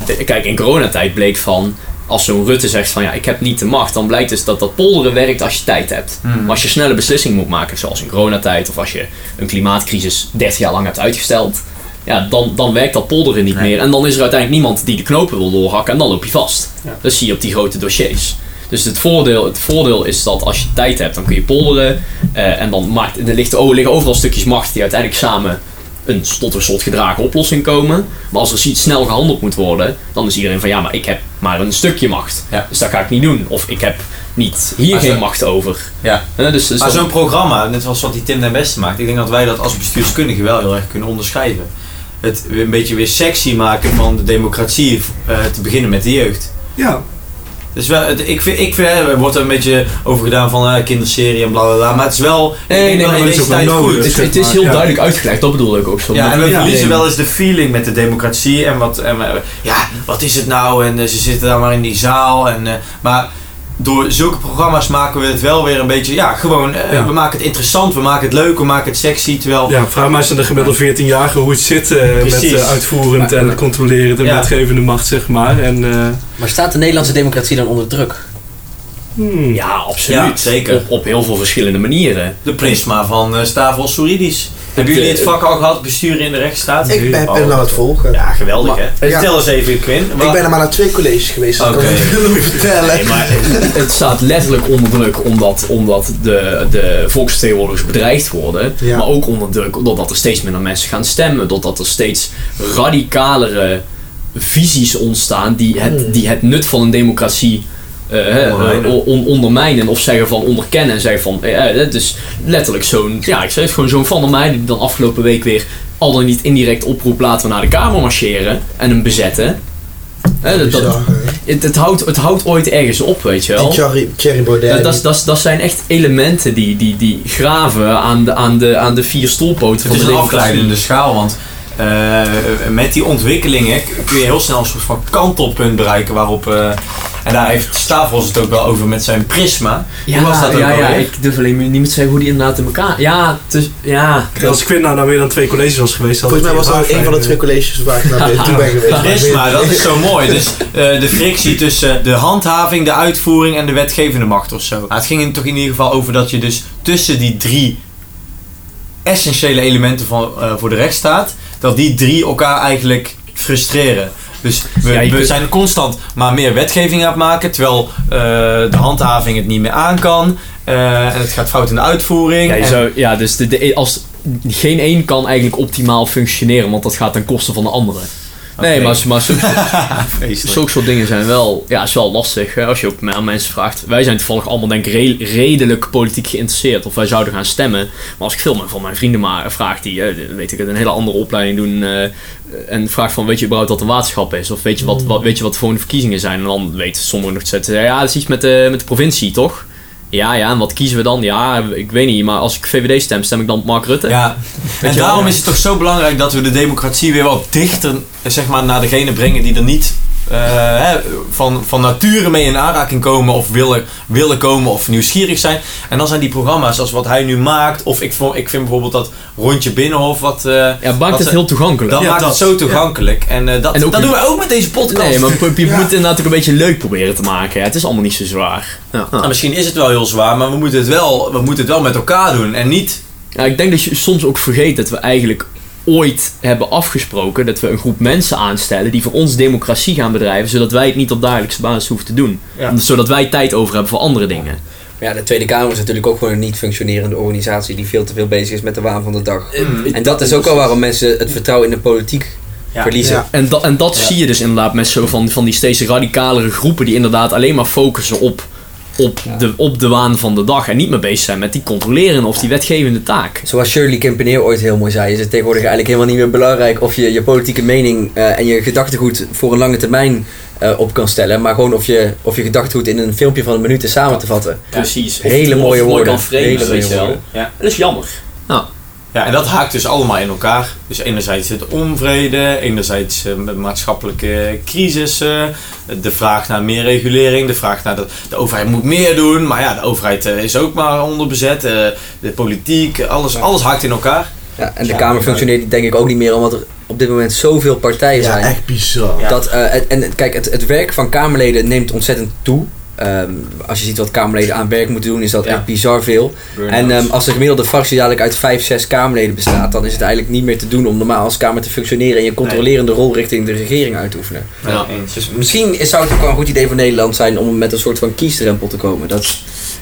S3: de- kijk, in coronatijd bleek van, als zo'n Rutte zegt van ja, ik heb niet de macht, dan blijkt dus dat dat polderen werkt als je tijd hebt. Maar Als je snelle beslissingen moet maken, zoals in coronatijd, of als je een klimaatcrisis 30 jaar lang hebt uitgesteld, ja, dan, dan werkt dat polderen niet meer. En dan is er uiteindelijk niemand die de knopen wil doorhakken en dan loop je vast. Dat zie je op die grote dossiers. Dus het voordeel, het voordeel is dat als je tijd hebt, dan kun je polderen. eh, en dan maakt, er ligt, oh, er liggen overal stukjes macht die uiteindelijk samen een tot een slot gedragen oplossing komen. Maar als er iets snel gehandeld moet worden, dan is iedereen van ja, maar ik heb maar een stukje macht.
S2: Ja.
S3: Dus dat ga ik niet doen. Of ik heb niet hier
S2: Maar
S3: geen
S2: zo-
S3: macht over.
S2: Ja.
S3: Eh, dus, dus
S2: Maar
S3: dan-
S2: zo'n programma, net zoals wat die Tim den Beste maakt, ik denk dat wij dat als bestuurskundigen wel heel erg kunnen onderscheiden. Het het weer een beetje weer sexy maken van de democratie. eh, te beginnen met de jeugd.
S4: Ja,
S2: Dus wel, het- ik vind, ik vind, hè, er wordt er een beetje over gedaan van eh, kinderserie en bla bla bla. Maar het is wel. ik
S3: Nee,
S2: denk
S3: nee,
S2: wel
S3: maar
S2: in
S4: dat is
S2: deze
S4: ook
S2: tijd
S4: wel nodig.
S2: goed.
S3: Het, het is heel
S4: Ja.
S3: duidelijk uitgelegd, dat bedoel ik ook zo.
S2: Ja, en we
S4: Ja.
S2: verliezen wel eens de feeling met de democratie en wat, en, we- ja, wat is het nou? En eh, ze zitten daar maar in die zaal. En, eh, maar door zulke programma's maken we het wel weer een beetje, ja, gewoon, eh,
S4: Ja.
S2: we maken het interessant, we maken het leuk, we maken het sexy. Terwijl,
S4: ja vraag maar eens aan de gemiddelde 14-jarige hoe het zit eh, met
S2: Precies.
S4: eh, uitvoerend
S2: Maar-
S4: en controlerend en
S2: Ja.
S4: wetgevende macht, zeg maar. En, eh,
S5: Maar staat de Nederlandse democratie dan onder druk?
S4: hmm.
S3: Ja, absoluut.
S2: Ja, zeker.
S3: Op, op heel veel verschillende manieren.
S2: de prisma van eh, Stavros Souridis. Hebben jullie het vak al gehad, besturen in de rechtsstaat?
S4: eh,
S2: Oh.
S4: Nee.
S6: Ik ben, ben aan het volgen.
S2: Ja, geweldig
S6: Maar-
S2: hè.
S6: ja.
S2: Vertel eens even, Quinn.
S6: Ik ben er maar naar twee colleges geweest, dat
S2: Oké.
S6: kan ik jullie niet vertellen.
S3: Nee, maar het- het staat letterlijk onder druk omdat, omdat de, de volksvertegenwoordigers bedreigd worden.
S6: Ja.
S3: Maar ook onder druk doordat er steeds minder mensen gaan stemmen. Doordat er steeds radicalere visies ontstaan die
S6: Hmm.
S3: het, die het nut van een democratie eh, hè,
S2: Ondermijnen.
S3: eh, on- ondermijnen of zeggen van onderkennen en zeggen van eh, eh, het is letterlijk zo'n ja ik zeg het gewoon zo'n van der Meijden die dan afgelopen week weer al dan niet indirect oproep laten we naar de kamer marcheren en hem bezetten Hè, dat, dat,
S6: Bizar, hè?
S3: het, het, houdt, het houdt ooit ergens op, weet je
S6: Die
S3: wel.
S6: Thierry, Thierry Baudet.
S3: Dat, dat, dat, dat zijn echt elementen die, die, die graven aan de, aan, de, aan de vier stoelpoten
S2: Het is
S3: van de
S2: een
S3: democratie.
S2: afgeleidende schaal, want eh, met die ontwikkelingen kun je heel snel een soort van kantelpunt bereiken waarop. eh, en daar heeft Stavros het ook wel over met zijn prisma.
S3: Ja,
S2: dus Hoe was dat ook
S3: ja, ja,
S2: alweer?
S3: ik durf alleen maar niet meer te zeggen hoe die inderdaad in elkaar... Ja, het is- ja.
S4: Kijk, Als Quinn nou, nou weer aan twee colleges was geweest, had
S6: Volgens mij
S4: het
S6: was dat
S4: weer
S6: een van de twee
S4: vijf,
S6: colleges waar ik naar toe ben geweest. Maar ik weet-
S2: Prisma, dat is zo mooi. Dus eh, de frictie tussen de handhaving, de uitvoering en de wetgevende macht of zo. Maar het ging in- toch in ieder geval over dat je dus tussen die drie essentiële elementen van, eh, voor de rechtsstaat, dat die drie elkaar eigenlijk frustreren. Dus we,
S3: Ja, je
S2: we
S3: kunt-
S2: zijn constant maar meer wetgeving aan het maken, terwijl eh, de handhaving het niet meer aan kan. eh, en het gaat fout in de uitvoering.
S3: Ja, je
S2: en-
S3: zou, ja dus de, de, als, geen één kan eigenlijk optimaal functioneren, want dat gaat ten koste van de andere. Nee,
S2: Oké.
S3: maar, maar zo,
S2: Vreselijk.
S3: zulke soort dingen zijn wel, ja, is wel lastig. Hè? Als je ook aan mensen vraagt. Wij zijn toevallig allemaal denk ik re- redelijk politiek geïnteresseerd. Of wij zouden gaan stemmen. Maar als ik veel meer van mijn vrienden maar vraag die, eh, weet ik het, een hele andere opleiding doen. eh, en vraag van, weet je überhaupt wat een waterschap is? Of weet je
S2: Hmm.
S3: wat, wat, weet je wat de volgende verkiezingen zijn? En dan weten sommigen nog steeds, eh, ja, dat is iets met de, met de provincie, toch? Ja, ja, en wat kiezen we dan? Ja, ik weet niet, maar als ik VVD stem, stem ik dan op Mark Rutte?
S2: Ja, en
S3: je wel,
S2: daarom
S3: ja.
S2: is het toch zo belangrijk dat we de democratie weer wat dichter eh, zeg maar, naar degene brengen die er niet eh, hè, van, van nature mee in aanraking komen of willen, willen komen of nieuwsgierig zijn. En dan zijn die programma's als wat hij nu maakt, of ik, vo- ik vind bijvoorbeeld dat Rondje Binnenhof wat. eh,
S3: Ja,
S2: wat
S3: maakt het
S2: ze-
S3: heel toegankelijk.
S2: Dat
S4: Ja,
S2: maakt
S4: dat.
S2: het zo toegankelijk. En, eh, dat,
S3: En ook
S2: dat
S3: niet-
S2: doen we ook met deze podcast.
S3: Nee, maar je moet
S6: Ja.
S3: inderdaad ook een beetje leuk proberen te maken. hè. Het is allemaal niet zo zwaar. Ja.
S2: Nou, misschien is het wel heel zwaar, maar we moeten, het wel, we moeten het wel met elkaar doen. En niet.
S3: Ja, ik denk dat je soms ook vergeet dat we eigenlijk ooit hebben afgesproken dat we een groep mensen aanstellen die voor ons democratie gaan bedrijven, zodat wij het niet op dagelijkse basis hoeven te doen.
S2: Ja.
S3: Omdat- Zodat wij tijd over hebben voor andere dingen.
S5: Maar ja, de Tweede Kamer is natuurlijk ook gewoon een niet functionerende organisatie die veel te veel bezig is met de waan van de dag.
S2: Mm.
S6: Mm.
S5: En dat is ook al waarom mensen het vertrouwen in de politiek
S2: Ja.
S5: verliezen.
S6: Ja.
S3: En, da- en dat zie je dus inderdaad met zo van, van die steeds radicalere groepen die inderdaad alleen maar focussen op, op, de, op de waan van de dag en niet meer bezig zijn met die controlerende of die wetgevende taak.
S5: Zoals Shirley Kempeneer ooit heel mooi zei, is het tegenwoordig eigenlijk helemaal niet meer belangrijk of je je politieke mening eh, en je gedachtegoed voor een lange termijn eh, op kan stellen. Maar gewoon of je, of je gedachtegoed in een filmpje van een minuut is samen te vatten.
S3: Precies.
S5: Hele
S3: Of- of
S5: mooie
S3: mooi
S5: woorden.
S3: kan framen,
S5: Hele
S3: weet
S5: mooie
S3: je wel.
S5: woorden.
S3: Ja. Dat is jammer.
S2: Ja, en dat haakt dus allemaal in elkaar. Dus enerzijds het onvrede, enerzijds eh, de maatschappelijke crisissen, de vraag naar meer regulering, de vraag naar dat de overheid moet meer doen. Maar ja, de overheid eh, is ook maar onderbezet, eh, de politiek, alles, alles haakt in elkaar.
S5: Ja, en de
S2: Ja,
S5: Kamer
S2: ja.
S5: functioneert denk ik ook niet meer omdat er op dit moment zoveel partijen
S6: Ja,
S5: zijn.
S6: echt bizar.
S2: Ja.
S5: Dat, eh, en- en kijk, het, het werk van Kamerleden neemt ontzettend toe. Ehm, als je ziet wat Kamerleden aan werk moeten doen, is dat
S2: Ja.
S5: echt bizar veel. En ehm, als de gemiddelde fractie dadelijk uit 5, 6 Kamerleden bestaat, dan is het eigenlijk niet meer te doen om normaal als Kamer te functioneren en je controlerende rol richting de regering uit te oefenen.
S2: ja.
S5: Dus misschien is- zou het ook wel een goed idee voor Nederland zijn om met een soort van kiesdrempel te komen. Dat,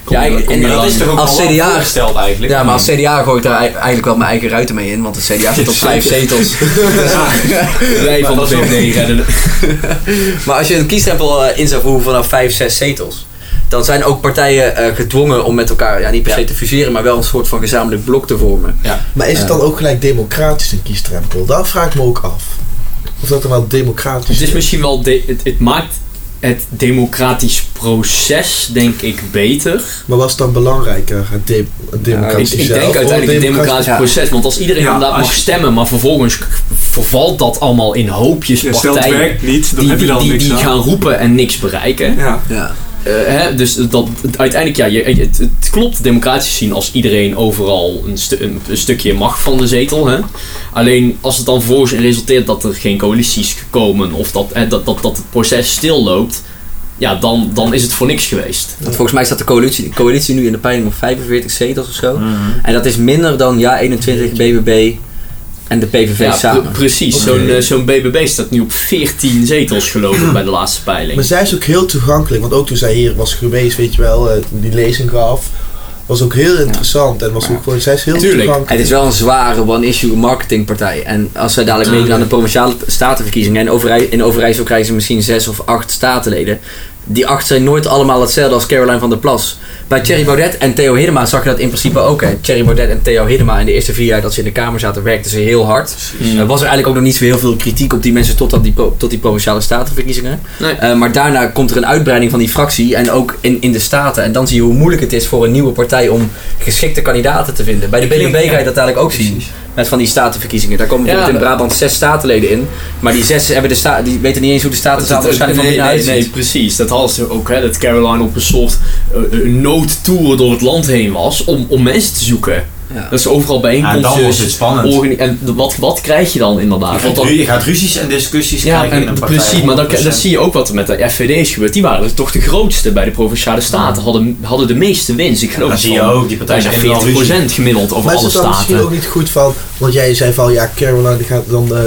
S3: Kom je-
S5: eigenlijk-
S3: kom je
S5: en-
S2: Maar dat
S3: dan-
S2: is toch ook
S5: als
S2: al wel
S5: CDA
S2: voorgesteld eigenlijk.
S5: ja, maar als CDA gooi ik daar ei- eigenlijk wel mijn eigen ruiten mee in, want het CDA zit op vijf zetels.
S3: Wij van de VVD redden
S5: Maar als je een kiesdrempel eh, in zou voeren vanaf 5, 6 zetels, dan zijn ook partijen eh, gedwongen om met elkaar, ja, niet per se te fuseren, maar wel een soort van gezamenlijk blok te vormen.
S6: Maar is het dan ook gelijk democratisch een kiestrempel? Dat vraag ik me ook af. Of dat dan wel democratisch
S3: Het is misschien wel. de- het, het maakt het democratisch proces, denk ik, beter.
S6: Maar was het dan belangrijker, het de- het
S5: ik-
S3: Ik,
S6: democratisch
S3: ik
S6: zelf?
S3: denk
S6: Of
S3: uiteindelijk het democratisch
S6: ja.
S3: proces. Want als iedereen
S4: Ja,
S3: inderdaad
S4: als
S3: mag
S4: je-
S3: stemmen, maar vervolgens k- vervalt dat allemaal in hoopjes
S4: Ja, stel het
S3: partijen.
S4: eh, werkt niet, dan
S3: Die,
S4: heb je
S3: die,
S4: dan
S3: die,
S4: niks
S3: die
S4: aan.
S3: gaan roepen en niks bereiken.
S4: Ja.
S5: Ja.
S3: Eh, hè, dus dat, het- uiteindelijk, ja, je, het, het klopt democratisch zien als iedereen overal een, stu- een, een stukje mag van de zetel. Hè? Alleen als het dan vervolgens in resulteert dat er geen coalities komen of dat, hè, dat, dat, dat het proces stil loopt, ja, dan, dan is het voor niks geweest.
S5: Want volgens mij staat de coalitie, coalitie nu in de peiling op 45 zetels of zo. En dat is minder dan ja 21 BBB en de PVV
S3: Ja, pre-
S5: samen.
S3: precies. Zo'n eh, zo'n BBB staat nu op 14 zetels, geloof ik, bij de laatste peiling.
S6: Maar zij is ook heel toegankelijk, want ook toen zij hier was geweest, weet je wel, eh, die lezing gaf, was ook heel interessant. En was ook gewoon, zij is heel
S3: Tuurlijk.
S5: Het
S6: toegankelijk.
S5: is wel een zware one-issue marketingpartij. En als zij dadelijk meedoen aan de provinciale statenverkiezingen. En Overij- in Overijssel krijgen ze misschien zes of acht statenleden. Die acht zijn nooit allemaal hetzelfde als Caroline van der Plas. Bij Thierry Baudet en Theo Hiddema zag je dat in principe ook. Hè. Thierry Baudet en Theo Hiddema in de eerste vier jaar dat ze in de Kamer zaten, werkten ze heel hard.
S3: Mm.
S5: Er was er eigenlijk ook nog niet zo heel veel kritiek op die mensen tot, die, pro- tot die provinciale statenverkiezingen.
S3: Nee.
S5: Eh, maar daarna komt er een uitbreiding van die fractie en ook in, in de staten. En dan zie je hoe moeilijk het is voor een nieuwe partij om geschikte kandidaten te vinden. Bij de BBB ga je dat dadelijk ook zien. Met van die statenverkiezingen. Daar komen
S3: Ja,
S5: bijvoorbeeld in
S3: eh.
S5: Brabant zes statenleden in. Maar die zes hebben de sta- die weten niet eens hoe de statenzaal waarschijnlijk van
S3: nee,
S5: binnenuit
S3: nee,
S5: ziet.
S3: nee, precies. Dat hadden ze ook, hè, dat Caroline op een soort eh, eh, noodtour door het land heen was om, om mensen te zoeken.
S5: Ja.
S3: Dat ze overal
S2: Ja, dan wordt het
S3: bijeenkomsten...
S2: spannend.
S3: organi- en wat, wat krijg je dan inderdaad?
S2: Je
S3: Want
S2: gaat,
S3: dan-
S2: ru- je gaat ruzies en discussies
S3: ja,
S2: krijgen in
S3: en
S2: een partij.
S3: precies, maar dan,
S2: 100%.
S3: dan zie je ook wat er met de FVD is gebeurd. Die waren toch de grootste bij de Provinciale Staten. Hadden, hadden de meeste winst. Ik geloof
S2: Dan zie je
S3: van
S2: ook, die partijen
S3: bijna
S2: zijn
S3: 40% gemiddeld over
S6: Maar is
S3: alle
S6: het dan misschien
S3: staten.
S6: ook niet goed van, want jij zei van, ja, Caroline die gaat dan eh,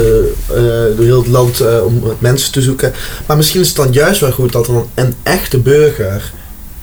S6: eh, door heel het land eh, om mensen te zoeken. Maar misschien is het dan juist wel goed dat er dan een echte burger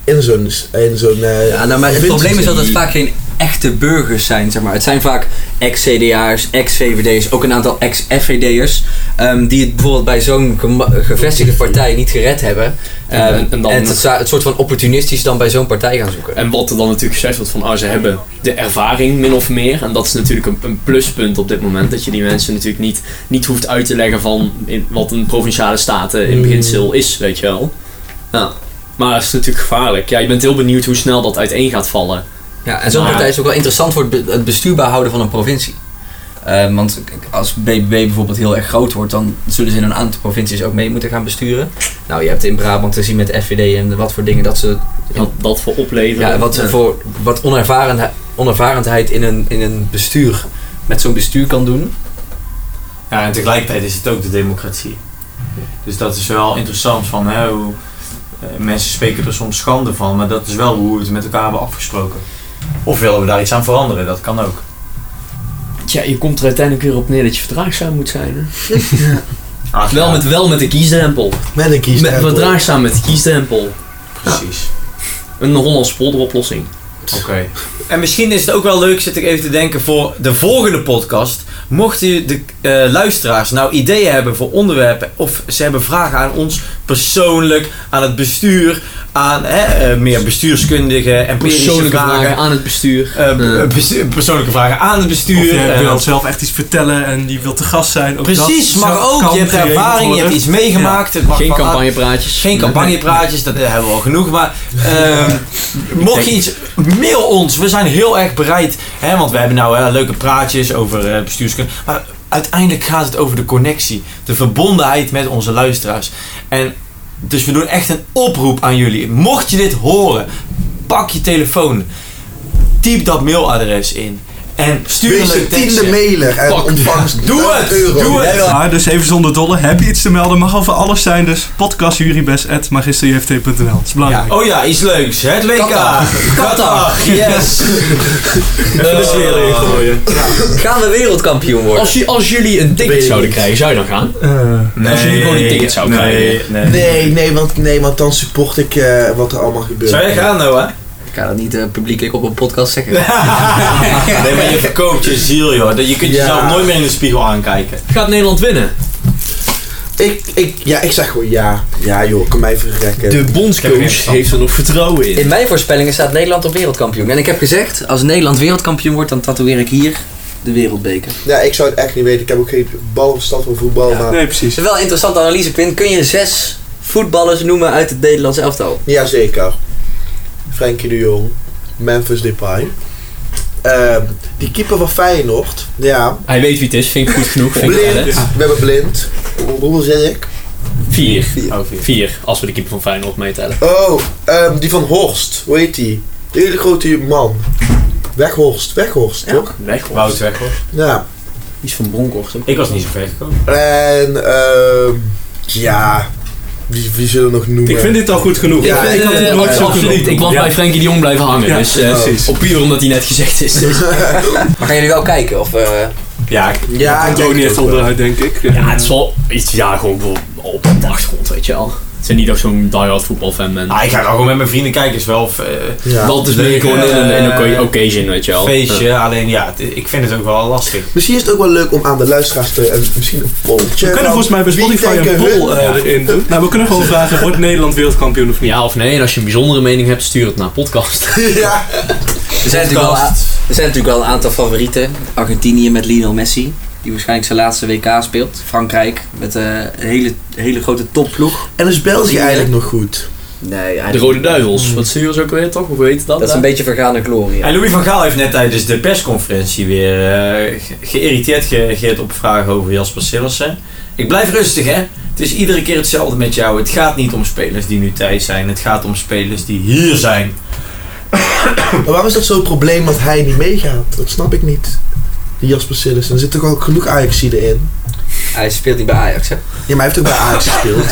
S6: in zo'n... In zo'n eh,
S5: Ja, nou, maar het
S6: winst
S5: probleem is dat het
S6: zit.
S5: vaak geen echte burgers zijn, zeg maar. Het zijn vaak ex-CDA'ers, ex-VVD'ers, ook een aantal ex-FVD'ers... ehm, die het bijvoorbeeld bij zo'n gema- gevestigde partij niet gered hebben. Ehm,
S3: En-
S5: en,
S3: en- en dan-
S5: het, zo- het soort van opportunistisch dan bij zo'n partij gaan zoeken.
S3: En wat er dan natuurlijk gezegd wordt van, ah, ze hebben de ervaring min of meer. En dat is natuurlijk een, een pluspunt op dit moment. Dat je die mensen natuurlijk niet, niet hoeft uit te leggen van in, wat een provinciale staten in beginsel is, weet je wel. Ja. Maar het is natuurlijk gevaarlijk. Ja, je bent heel benieuwd hoe snel dat uiteen gaat vallen.
S5: Ja, en zo'n
S3: Maar-
S5: partij is ook wel interessant voor het be- het bestuurbaar houden van een provincie. Eh, want als BBB bijvoorbeeld heel erg groot wordt, dan zullen ze in een aantal provincies ook mee moeten gaan besturen. Nou, je hebt in Brabant te zien met de FVD en wat voor dingen dat ze
S3: Wat dat voor opleveren.
S5: Ja, wat, Voor, wat onervaren, onervarenheid in een, in een bestuur met zo'n bestuur kan doen.
S2: Ja, en tegelijkertijd is het ook de democratie. Dus dat is wel interessant van hè, hoe, eh, mensen spreken er soms schande van, maar dat is wel hoe we het met elkaar hebben afgesproken. Of willen we daar iets aan veranderen? Dat kan ook.
S3: Tja, je komt er uiteindelijk weer op neer dat je verdraagzaam moet zijn. Hè?
S2: Ah,
S3: Wel,
S2: ja,
S3: met, wel met de kiesdrempel.
S6: Met een
S3: Met,
S6: kiesdrempel.
S3: verdraagzaam met de kiesdrempel.
S2: Precies.
S3: Een Hollands polderoplossing.
S2: Oké. En misschien is het ook wel leuk, zit ik even te denken, voor de volgende podcast. Mochten je de eh, luisteraars nou ideeën hebben voor onderwerpen, of ze hebben vragen aan ons persoonlijk, aan het bestuur, aan hè, eh, meer bestuurskundige, empirische
S3: Persoonlijke
S2: vragen.
S3: vragen aan het bestuur.
S2: Eh, be-
S3: Eh.
S2: bes- persoonlijke vragen aan het bestuur.
S4: Of je
S2: eh,
S4: wilt zelf echt iets vertellen en die wil te gast zijn. Ook
S2: precies,
S4: dat
S2: maar
S4: zou-
S2: ook.
S4: kan
S2: Je hebt
S4: geregeld
S2: ervaring, je hebt
S4: worden.
S2: iets meegemaakt. Het mag
S3: Geen
S2: van-
S3: campagnepraatjes.
S2: Geen campagnepraatjes, dat eh, hebben we al genoeg. Maar ehm, mocht je iets, mail ons. We zijn heel erg bereid. Hè, want we hebben nou hè, leuke praatjes over eh bestuurskunde. Maar uiteindelijk gaat het over de connectie. De verbondenheid met onze luisteraars. En dus we doen echt een oproep aan jullie. Mocht je dit horen, pak je telefoon. Typ dat mailadres in. En stuur
S6: Wees
S2: een
S6: de
S2: leuk
S6: tiende
S2: tekstje.
S6: mailer en ontvangst
S2: Doe
S6: 1000
S2: het,
S6: euro.
S2: doe het.
S6: Jij wil-
S4: Maar dus even zonder dolle, heb je iets te melden? Mag over alles zijn, dus podcastjuribes.magisterjft.nl. Dat is belangrijk.
S2: Oh ja, iets leuks. hè, Het WK.
S5: Qatar.
S2: Qatar. Yes. Oh. Dat is weer leuk.
S5: Gaan we wereldkampioen worden?
S3: Als, je- als jullie een ticket
S6: weet ik
S3: zouden
S6: niet.
S3: krijgen, zou je dan gaan?
S2: Nee,
S3: Als jullie gewoon die ticket zouden
S2: nee,
S3: krijgen.
S2: Nee.
S6: Nee, nee, want, nee, want dan support ik eh, wat er allemaal gebeurt.
S2: Zou nou, jij gaan, Noah?
S5: Ik ga dat niet eh, publiekelijk op een podcast zeggen.
S2: nee, maar je verkoopt je ziel, joh. Dat- Je kunt
S6: Ja.
S2: jezelf nooit meer in de spiegel aankijken.
S3: Gaat Nederland winnen?
S6: Ik, ik, ja, ik zeg gewoon ja. Ja joh, kan mij
S3: De
S6: verrekken.
S2: Ik heb er geen
S3: bondscoach
S2: verstand
S3: heeft er nog vertrouwen in.
S5: In mijn voorspellingen staat Nederland op wereldkampioen. En ik heb gezegd, als Nederland wereldkampioen wordt, dan tatoeëer ik hier de wereldbeker.
S6: Ja, ik zou het echt niet weten. Ik heb ook geen balverstand van voetbal, maar...
S4: Nee, precies.
S5: Het is wel een interessante analyse, Quinn. Kun je zes voetballers noemen uit het Nederlands elftal?
S6: Jazeker. Frenkie de Jong. Memphis Depay. Ehm, die keeper van Feyenoord. Ja.
S3: Hij weet wie het is, vind ik goed genoeg. Vind ik
S6: Blind.
S3: valid.
S6: We hebben blind. Hoe- Hoeveel zeg ik?
S3: Vier.
S2: Oh, vier.
S3: Vier, als we de keeper van Feyenoord meetellen.
S6: Oh, ehm, die van Horst. Hoe heet die? De hele grote man. Weghorst. Weghorst, toch?
S3: Weg hoor.
S2: Wout weg hoor.
S6: Ja.
S5: Iets van Bronkhorst.
S2: Ik was niet zo ver gekomen.
S6: En, ehm ja. Wie, wie zullen we nog noemen?
S4: Ik vind dit al goed genoeg.
S6: Ja,
S4: ik, had het
S2: Eh,
S4: nooit zo
S3: absoluut.
S4: genoeg.
S3: Ik was
S4: Ja.
S3: bij Frenkie de Jong blijven hangen.
S4: Ja,
S3: dus, eh,
S2: Oh,
S6: precies.
S3: Op puur omdat hij net gezegd is.
S5: Maar gaan jullie wel kijken? Of, eh,
S2: Ja, ik-
S6: ja, ik
S4: Komt er
S6: denk
S4: ook niet
S6: het
S4: echt
S6: ook wel.
S4: onderuit, denk ik.
S3: ja, het is wel iets, ja, gewoon voor- op de achtergrond, weet je wel. Het zijn niet dat ik zo'n diehard voetbalfan ben.
S2: ah, ik ga wel gewoon met mijn vrienden kijken. Is wel eh,
S6: Ja.
S3: Dat is meer
S2: Leuk,
S3: gewoon in een, in een
S2: eh,
S3: occa- occasion, weet je wel. eh.
S2: feestje. Alleen ja, het- ik vind het ook wel lastig.
S6: Misschien is het ook wel leuk om aan de luisteraars te... En misschien een polletje.
S4: We kunnen volgens mij bij Spotify een poll eh, erin doen. Nou, we kunnen gewoon vragen, wordt Nederland wereldkampioen of niet?
S3: Ja of nee, en als je een bijzondere mening hebt, stuur het naar podcast.
S6: ja.
S5: er, zijn natuurlijk wel, a- er zijn natuurlijk wel een aantal favorieten. Argentinië met Lionel Messi, die waarschijnlijk zijn laatste WK speelt. Frankrijk met eh, een hele, hele grote topploeg.
S6: En is België eigenlijk nog goed?
S5: Nee, eigenlijk-
S3: De Rode Duivels, wat sturen ze ook weer toch? Hoe heet Hmm. dat?
S5: Dat is een
S3: daar?
S5: beetje vergane glorie. ja.
S2: En Louis van Gaal heeft net tijdens de persconferentie weer eh, ge- geïrriteerd gereageerd op vragen over Jasper Sillissen. Ik blijf rustig, hè? Het is iedere keer hetzelfde met jou. Het gaat niet om spelers die nu thuis zijn. Het gaat om spelers die hier zijn.
S6: Maar waarom is dat zo'n probleem dat hij niet meegaat? Dat snap ik niet. Die Jasper Sillissen. Er zit toch ook genoeg Ajaxiden in?
S5: Hij speelt niet bij Ajax, hè?
S6: Ja, maar hij heeft ook bij Ajax gespeeld.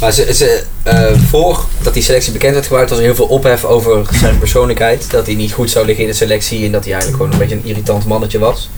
S5: Maar ze, ze, eh, voordat die selectie bekend werd gemaakt, was er heel veel ophef over zijn persoonlijkheid. Dat hij niet goed zou liggen in de selectie en dat hij eigenlijk gewoon een beetje een irritant mannetje was.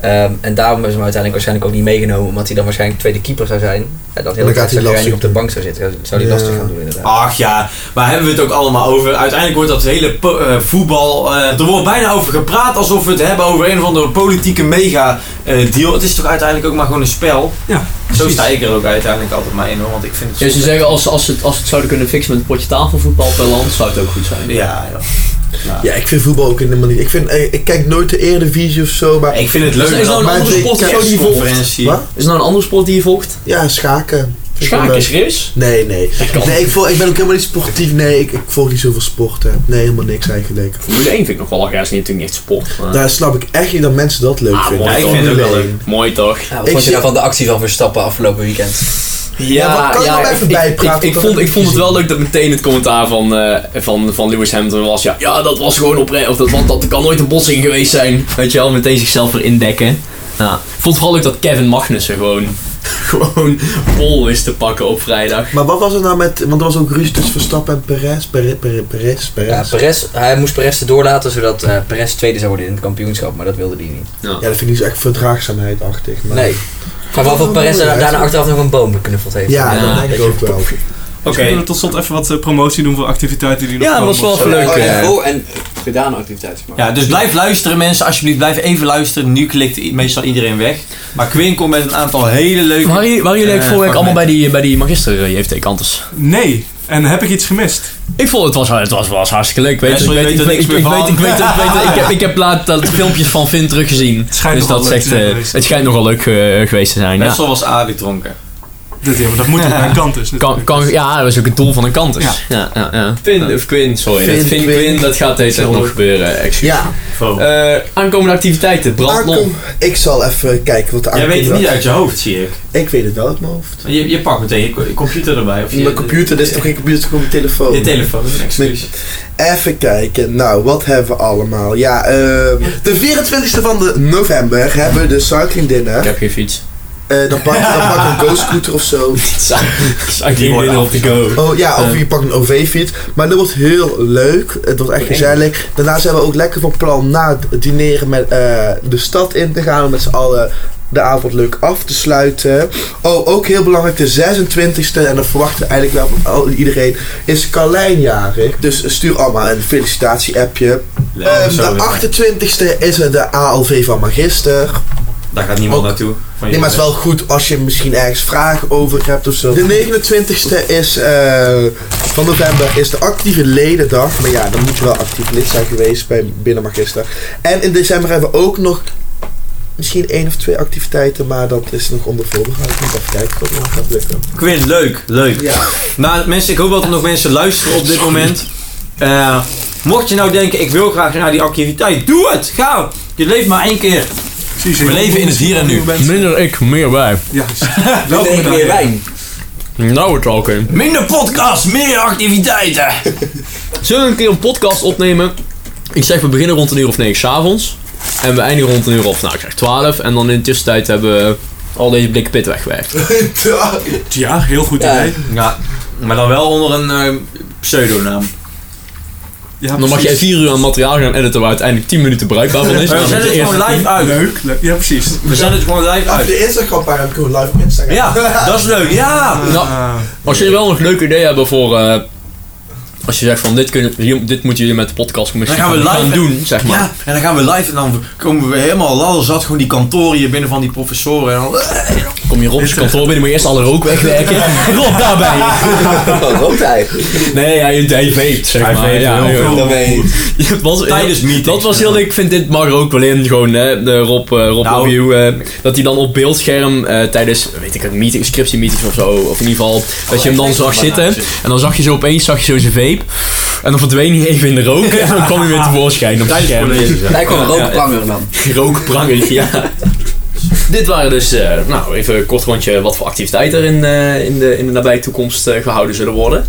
S5: Ehm, en daarom hebben ze hem uiteindelijk waarschijnlijk ook niet meegenomen, omdat hij dan waarschijnlijk tweede keeper zou zijn. En dan heel
S6: gaat hij
S5: tijd
S6: lastig
S5: hij op de
S6: doen.
S5: bank zou zitten. Dat zou hij
S6: Ja.
S5: lastig gaan doen, inderdaad.
S2: Ach ja, waar hebben we het ook allemaal over? Uiteindelijk wordt dat hele po- eh, voetbal. eh, er wordt bijna over gepraat alsof we het hebben over een of andere politieke mega-deal. het is toch uiteindelijk ook maar gewoon een spel?
S4: Ja,
S2: Zo sta ik er ook uiteindelijk altijd maar in hoor, want ik vind het.
S3: Ja, ze
S2: zo-
S3: zeggen als, als, ze het, als ze het zouden kunnen fixen met een potje tafelvoetbal per land, zou het ook goed zijn.
S2: Ja, joh.
S6: ja, ik vind voetbal ook helemaal niet. Ik, vind, eh, ik kijk nooit de Eredivisie of zo, maar...
S2: Ik vind het leuk
S3: Is er nou een
S6: Maar
S3: andere
S6: de
S3: sport die je volgt?
S2: persconferentie.
S6: Wat?
S3: Is er nou een andere sport die je volgt?
S6: Ja, schaken. Vind ik wel
S3: Schaken,
S6: leuk.
S3: serieus?
S6: Nee, nee.
S3: Dat kan.
S6: Nee, ik, volg, ik ben ook helemaal niet sportief. Nee, ik, ik volg niet zoveel sporten. Nee, helemaal niks eigenlijk.
S3: Formule 1 vind ik nog wel erg, is natuurlijk niet echt sport. maar-
S6: Daar snap ik echt niet dat mensen dat leuk
S3: Ah,
S6: vinden.
S3: mooi,
S2: Ja, ik
S6: Formule
S2: vind het ook wel
S6: één.
S2: leuk.
S3: Mooi toch?
S5: Ja, wat
S6: Ik
S5: vond je
S6: zie-
S5: nou van de actie van Verstappen afgelopen weekend?
S6: Ja, maar kan je nou even bijpraten,
S3: Ik, ik,
S6: want
S3: vond,
S6: dan
S3: ik vond het
S6: heb ik
S3: wel leuk dat meteen het commentaar van, eh, van, van Lewis Hamilton was. Ja, ja dat was gewoon oprecht. Of dat, want dat kan nooit een botsing geweest zijn. Weet je wel, meteen zichzelf weer indekken. Ja. Ik vond het vooral leuk dat Kevin Magnussen gewoon, gewoon bol wist te pakken op vrijdag.
S6: Maar wat was er nou met... Want er was ook ruzie tussen Verstappen en Perez. Perez, Perez, Perez.
S5: Ja,
S6: Perez.
S5: Perez, hij moest Perez erdoor laten, zodat eh, Perez tweede zou worden in het kampioenschap, maar dat wilde hij niet.
S6: Ja, dat vind ik niet zo echt verdraagzaamheidachtig. Maar...
S5: Nee. Maar wel voor Perez daar- daarna achteraf nog een boom beknuffeld heeft.
S6: Ja,
S3: Ja,
S6: dat denk ik ook wel.
S2: Oké.
S4: Zullen we tot slot even wat eh, promotie doen voor activiteiten die nog
S3: Ja,
S4: komen
S3: was wel
S4: of zo?
S3: even leuk.
S5: Oh,
S3: eh.
S5: ja. Oh, en gedaan activiteiten. maar.
S2: Ja, dus blijf luisteren mensen, alsjeblieft blijf even luisteren. Nu klikt i- meestal iedereen weg. Maar Quinn komt met een aantal hele leuke...
S3: Waren jullie- waren jullie
S2: Eh,
S3: eigenlijk vorige week allemaal bij
S2: fragmenten.
S3: die, bij die magister jft kanters
S4: Nee, en heb ik iets gemist?
S3: Ik vond het was, het was, was hartstikke leuk. Weet, je,
S2: Wessel,
S3: ik,
S2: je weet er
S3: weet, ik, weet, ik,
S2: niks meer
S3: weet,
S2: van.
S3: ik, weet, ik, weet- ik heb, ik heb laat dat filmpjes van Vin teruggezien.
S4: schijnt
S3: dus
S4: nogal
S3: dat zegt,
S4: leuk te zijn
S3: eh,
S4: geweest.
S3: het schijnt nogal leuk eh, geweest te zijn. Ja.
S2: Wessel was aardig dronken.
S4: Dat, ja, maar dat moet aan mijn kant dus.
S3: Kan,
S4: natuurlijk.
S3: kan, ja, dat is ook het doel van een kant. dus. Ja. Ja, ja, Vin of Quinn, sorry.
S6: Vin,
S3: dat Vin,
S6: Quinn.
S3: Quinn, dat gaat deze tijd nog gebeuren. Excuus.
S6: Ja,
S3: Eh, aankomende activiteiten, brandlon.
S6: aankom- ik zal even kijken wat de
S2: Jij weet het
S6: aankomende-
S2: niet uit je hoofd, zie ik.
S6: Ik weet het wel uit mijn hoofd.
S2: Je, je pakt meteen je co- je computer erbij. Of je,
S6: Mijn computer, dit is toch geen computer, dit is gewoon mijn telefoon.
S2: Je telefoon, excuus.
S6: Even kijken, nou, wat hebben we allemaal? Ja, ehm, de 24e van de november hebben we de cycling dinner.
S3: Ik heb geen fiets.
S6: Eh, dan pak je dan pak je een go-scooter of zo.
S3: Die
S2: worden
S3: op de go.
S6: Oh ja, of
S3: Eh.
S6: je pakt een OV-fiets. Maar dat wordt heel leuk. Het wordt echt gezellig. Daarna zijn we ook lekker van plan na het dineren met eh, de stad in te gaan. Om met z'n allen de avond leuk af te sluiten. Oh, ook heel belangrijk, de 26e. En dat verwachten we eigenlijk wel van al- iedereen. Is Carlijn jarig. Dus stuur allemaal een felicitatie-appje.
S2: Ja,
S6: Ehm,
S2: zo
S6: de
S2: weer.
S6: 28e is er de ALV van Magister.
S2: Daar gaat niemand
S6: Ook.
S2: naartoe. Van
S6: Nee, maar het is wel goed als je misschien ergens vragen over hebt of zo. De 29e is, eh, van november is de actieve ledendag. Maar ja, dan moet je wel actief lid zijn geweest bij binnen Magister. En in december hebben we ook nog misschien één of twee activiteiten. Maar dat is nog onder voorbehoud. Ik moet even kijken of dat nog gaat lukken.
S2: Quinn, leuk, leuk.
S6: Ja.
S2: Maar mensen, ik hoop dat er nog mensen luisteren op dit moment. Eh, mocht je nou denken, ik wil graag naar die activiteit, doe het! Ga! Je leeft maar één keer.
S4: Precies.
S2: We leven in het hier en nu.
S3: Minder ik, meer wij.
S4: Ja,
S5: Welkom
S4: Welkom bij.
S5: meer wijn.
S3: Nou, het ook in.
S2: Minder podcast, meer activiteiten!
S3: Zullen we een keer een podcast opnemen? Ik zeg, we beginnen rond een uur of negen s'avonds. En we eindigen rond een uur of, nou, ik zeg twaalf. En dan in de tussentijd hebben we al deze blikken pit weggewerkt.
S4: Ja, heel goed
S5: Ja.
S4: idee.
S2: Ja, maar dan wel onder een eh, pseudonaam.
S4: Ja,
S3: Dan mag jij
S4: precies.
S3: vier uur aan materiaal gaan editen waar uiteindelijk tien minuten bruikbaar van is.
S2: We
S3: namelijk
S2: zetten
S3: de
S2: het
S3: eerste
S2: gewoon
S3: tien.
S2: live uit.
S4: Leuk, leuk. Ja, precies.
S2: We zetten het gewoon live
S6: Op
S2: uit.
S6: de Instagram pagina heb ik gewoon live op Instagram.
S2: Ja, dat is leuk. Ja!
S3: Nou,
S4: Ah.
S3: Als jullie wel nog leuke ideeën hebben voor. eh, als je zegt van dit, kunnen, hier- dit moeten jullie met de podcastcommissie
S2: Dan gaan we live-
S3: doen, zeg maar.
S2: Ja, en dan gaan we live en dan komen we helemaal ladderzat gewoon die kantoren hier binnen van die professoren. En dan,
S3: Kom je Rob's kantoor binnen, moet je eerst alle rook wegwerken. Rob, daar ben je.
S5: Wat rookt hij?
S3: Nee, hij, hij vaped, zeg
S2: Hij
S3: maar.
S2: vaped
S3: ja,
S2: heel
S3: joh.
S2: veel.
S5: Dat weet ik.
S3: Dat was,
S2: Tijdens meetings.
S3: Dat was heel leuk. Ik vind dit mag er ook wel in. Gewoon hè, de Rob, eh, Rob
S2: Nou.
S3: Lobbyou, eh, dat hij dan op beeldscherm eh, tijdens, weet ik het, meeting, scriptiemeetings of zo. Of in ieder
S2: Oh,
S3: geval, dat je hem dan zag zitten. En dan zag je zo opeens, zag je zo zijn vape. En dan verdween hij even in de rook. En dan kwam hij weer tevoorschijn op het
S2: Tijdens
S3: scherm.
S2: college.
S5: Hij kwam rookpranger dan.
S3: Rookprangig, ja. Dit waren dus, eh, nou, even een kort rondje wat voor activiteiten er in, eh, in, de, in de nabije toekomst eh, gehouden zullen worden.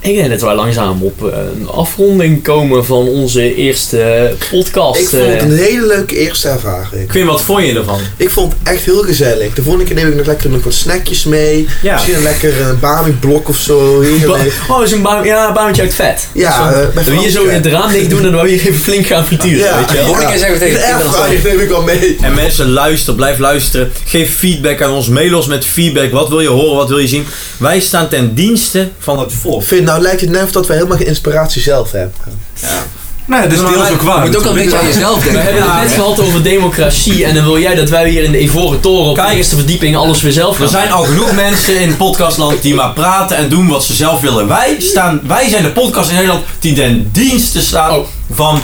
S3: Ik denk dat wij langzaam op eh, een afronding komen van onze eerste podcast.
S6: Ik vond het
S3: eh.
S6: een hele leuke eerste ervaring.
S2: Quinn, wat vond je ervan?
S6: Ik vond het echt heel gezellig. De volgende keer neem ik nog lekker nog wat snackjes mee.
S2: Ja.
S6: Misschien een lekker een Bami-blok of zo.
S3: Ba-
S6: Heerlijk.
S3: oh, is een baan, ja, een baantje uit vet.
S6: Ja, eh, bij
S3: Dat we hier zo
S6: Frankrijk.
S3: het raam dicht doen en dan we hier even flink gaan frituren.
S6: Ja.
S3: Weet je wel?
S5: Volgende keer zeggen we tegen de
S6: de
S5: kinderen
S6: airfryer neem ik wel mee.
S2: En mensen, luister, blijf luisteren. Geef feedback aan ons. Mail ons met feedback. Wat wil je horen? Wat wil je zien? Wij staan ten dienste van het volk.
S6: Vind, nou lijkt het net of dat we helemaal geen inspiratie zelf hebben.
S4: Nou ja, dus
S2: Maar
S4: deels
S2: wij-
S4: ook waar.
S5: Je moet ook al een beetje aan jezelf
S3: We
S5: denken.
S3: hebben het net gehad over democratie en dan wil jij dat wij hier in de Ivoren Toren op de
S2: Kijk.
S3: eerste verdieping alles weer zelf
S2: Er
S3: gaan
S2: zijn al genoeg mensen in podcastland die maar praten en doen wat ze zelf willen. Wij, staan, wij zijn de podcast in Nederland die ten dienste staat
S3: Oh.
S2: van,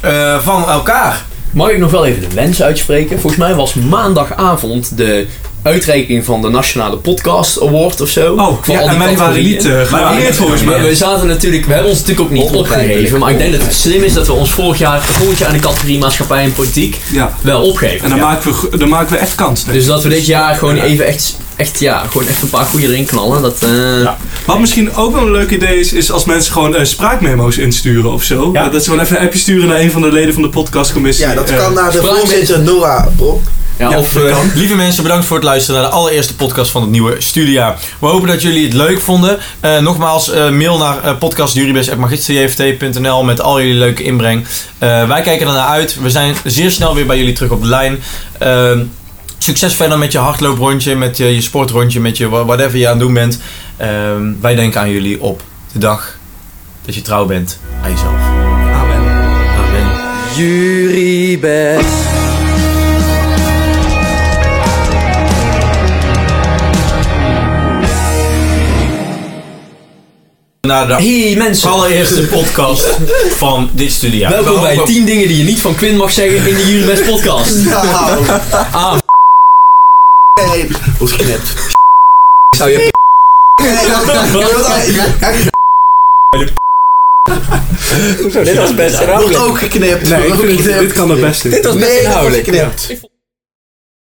S2: eh, van elkaar.
S3: Mag ik nog wel even de wens uitspreken? Volgens mij was maandagavond de uitreiking van de Nationale Podcast Award of zo.
S2: Oh,
S3: Van
S4: Ja,
S3: al die
S4: en wij waren
S3: categorieën.
S4: niet eh, gewaardeerd volgens
S3: Maar
S4: mij.
S3: we zaten natuurlijk, we hebben ons natuurlijk ook niet opgegeven. Maar ik denk dat het slim is dat we ons vorig jaar, volgend jaar in de categorie maatschappij en politiek
S4: Ja.
S3: wel
S4: En
S3: opgeven.
S4: dan, maken we, go- dan maken we echt kans. denk ik.
S3: Dus dat we dit jaar gewoon even echt, echt, ja, gewoon echt een paar goede erin knallen. Dat, eh,
S4: Wat misschien ook wel een leuk idee is, is als mensen gewoon eh, spraakmemo's insturen of zo.
S2: Ja.
S4: Dat ze gewoon even een appje sturen naar een van de leden van de podcastcommissie.
S6: Ja, dat
S4: Eh,
S6: kan naar de
S3: spraakmeester.
S6: voorzitter Noah Brok.
S3: ja, of, eh,
S2: Lieve mensen, bedankt voor het luisteren naar de allereerste podcast van het nieuwe studiejaar. We hopen dat jullie het leuk vonden. Eh, nogmaals, eh, mail naar eh podcastjuribes.magisterjft.nl met al jullie leuke inbreng. Eh, wij kijken ernaar uit. We zijn zeer snel weer bij jullie terug op de lijn. Ehm, succes verder met je hardlooprondje, met je, je sportrondje, met je wha- whatever je aan het doen bent. Ehm, wij denken aan jullie op de dag dat je trouw bent aan jezelf. Amen.
S1: Juribest.
S2: Naar de
S3: hey mensen,
S2: allereerste podcast van dit studiejaar.
S3: welkom bij 10 dingen die je niet van Quinn mag zeggen in de Juribest podcast.
S6: Nou.
S3: Ah.
S6: Nee, wordt geknipt.
S5: Zou je
S6: Nee, dat kan niet.
S5: Dit was best
S6: Wordt ook geknipt. Wordt ook geknipt.
S4: Dit kan het beste.
S5: Dit was best
S6: Nee, dat wordt
S5: inhoudelijk.
S6: geknipt.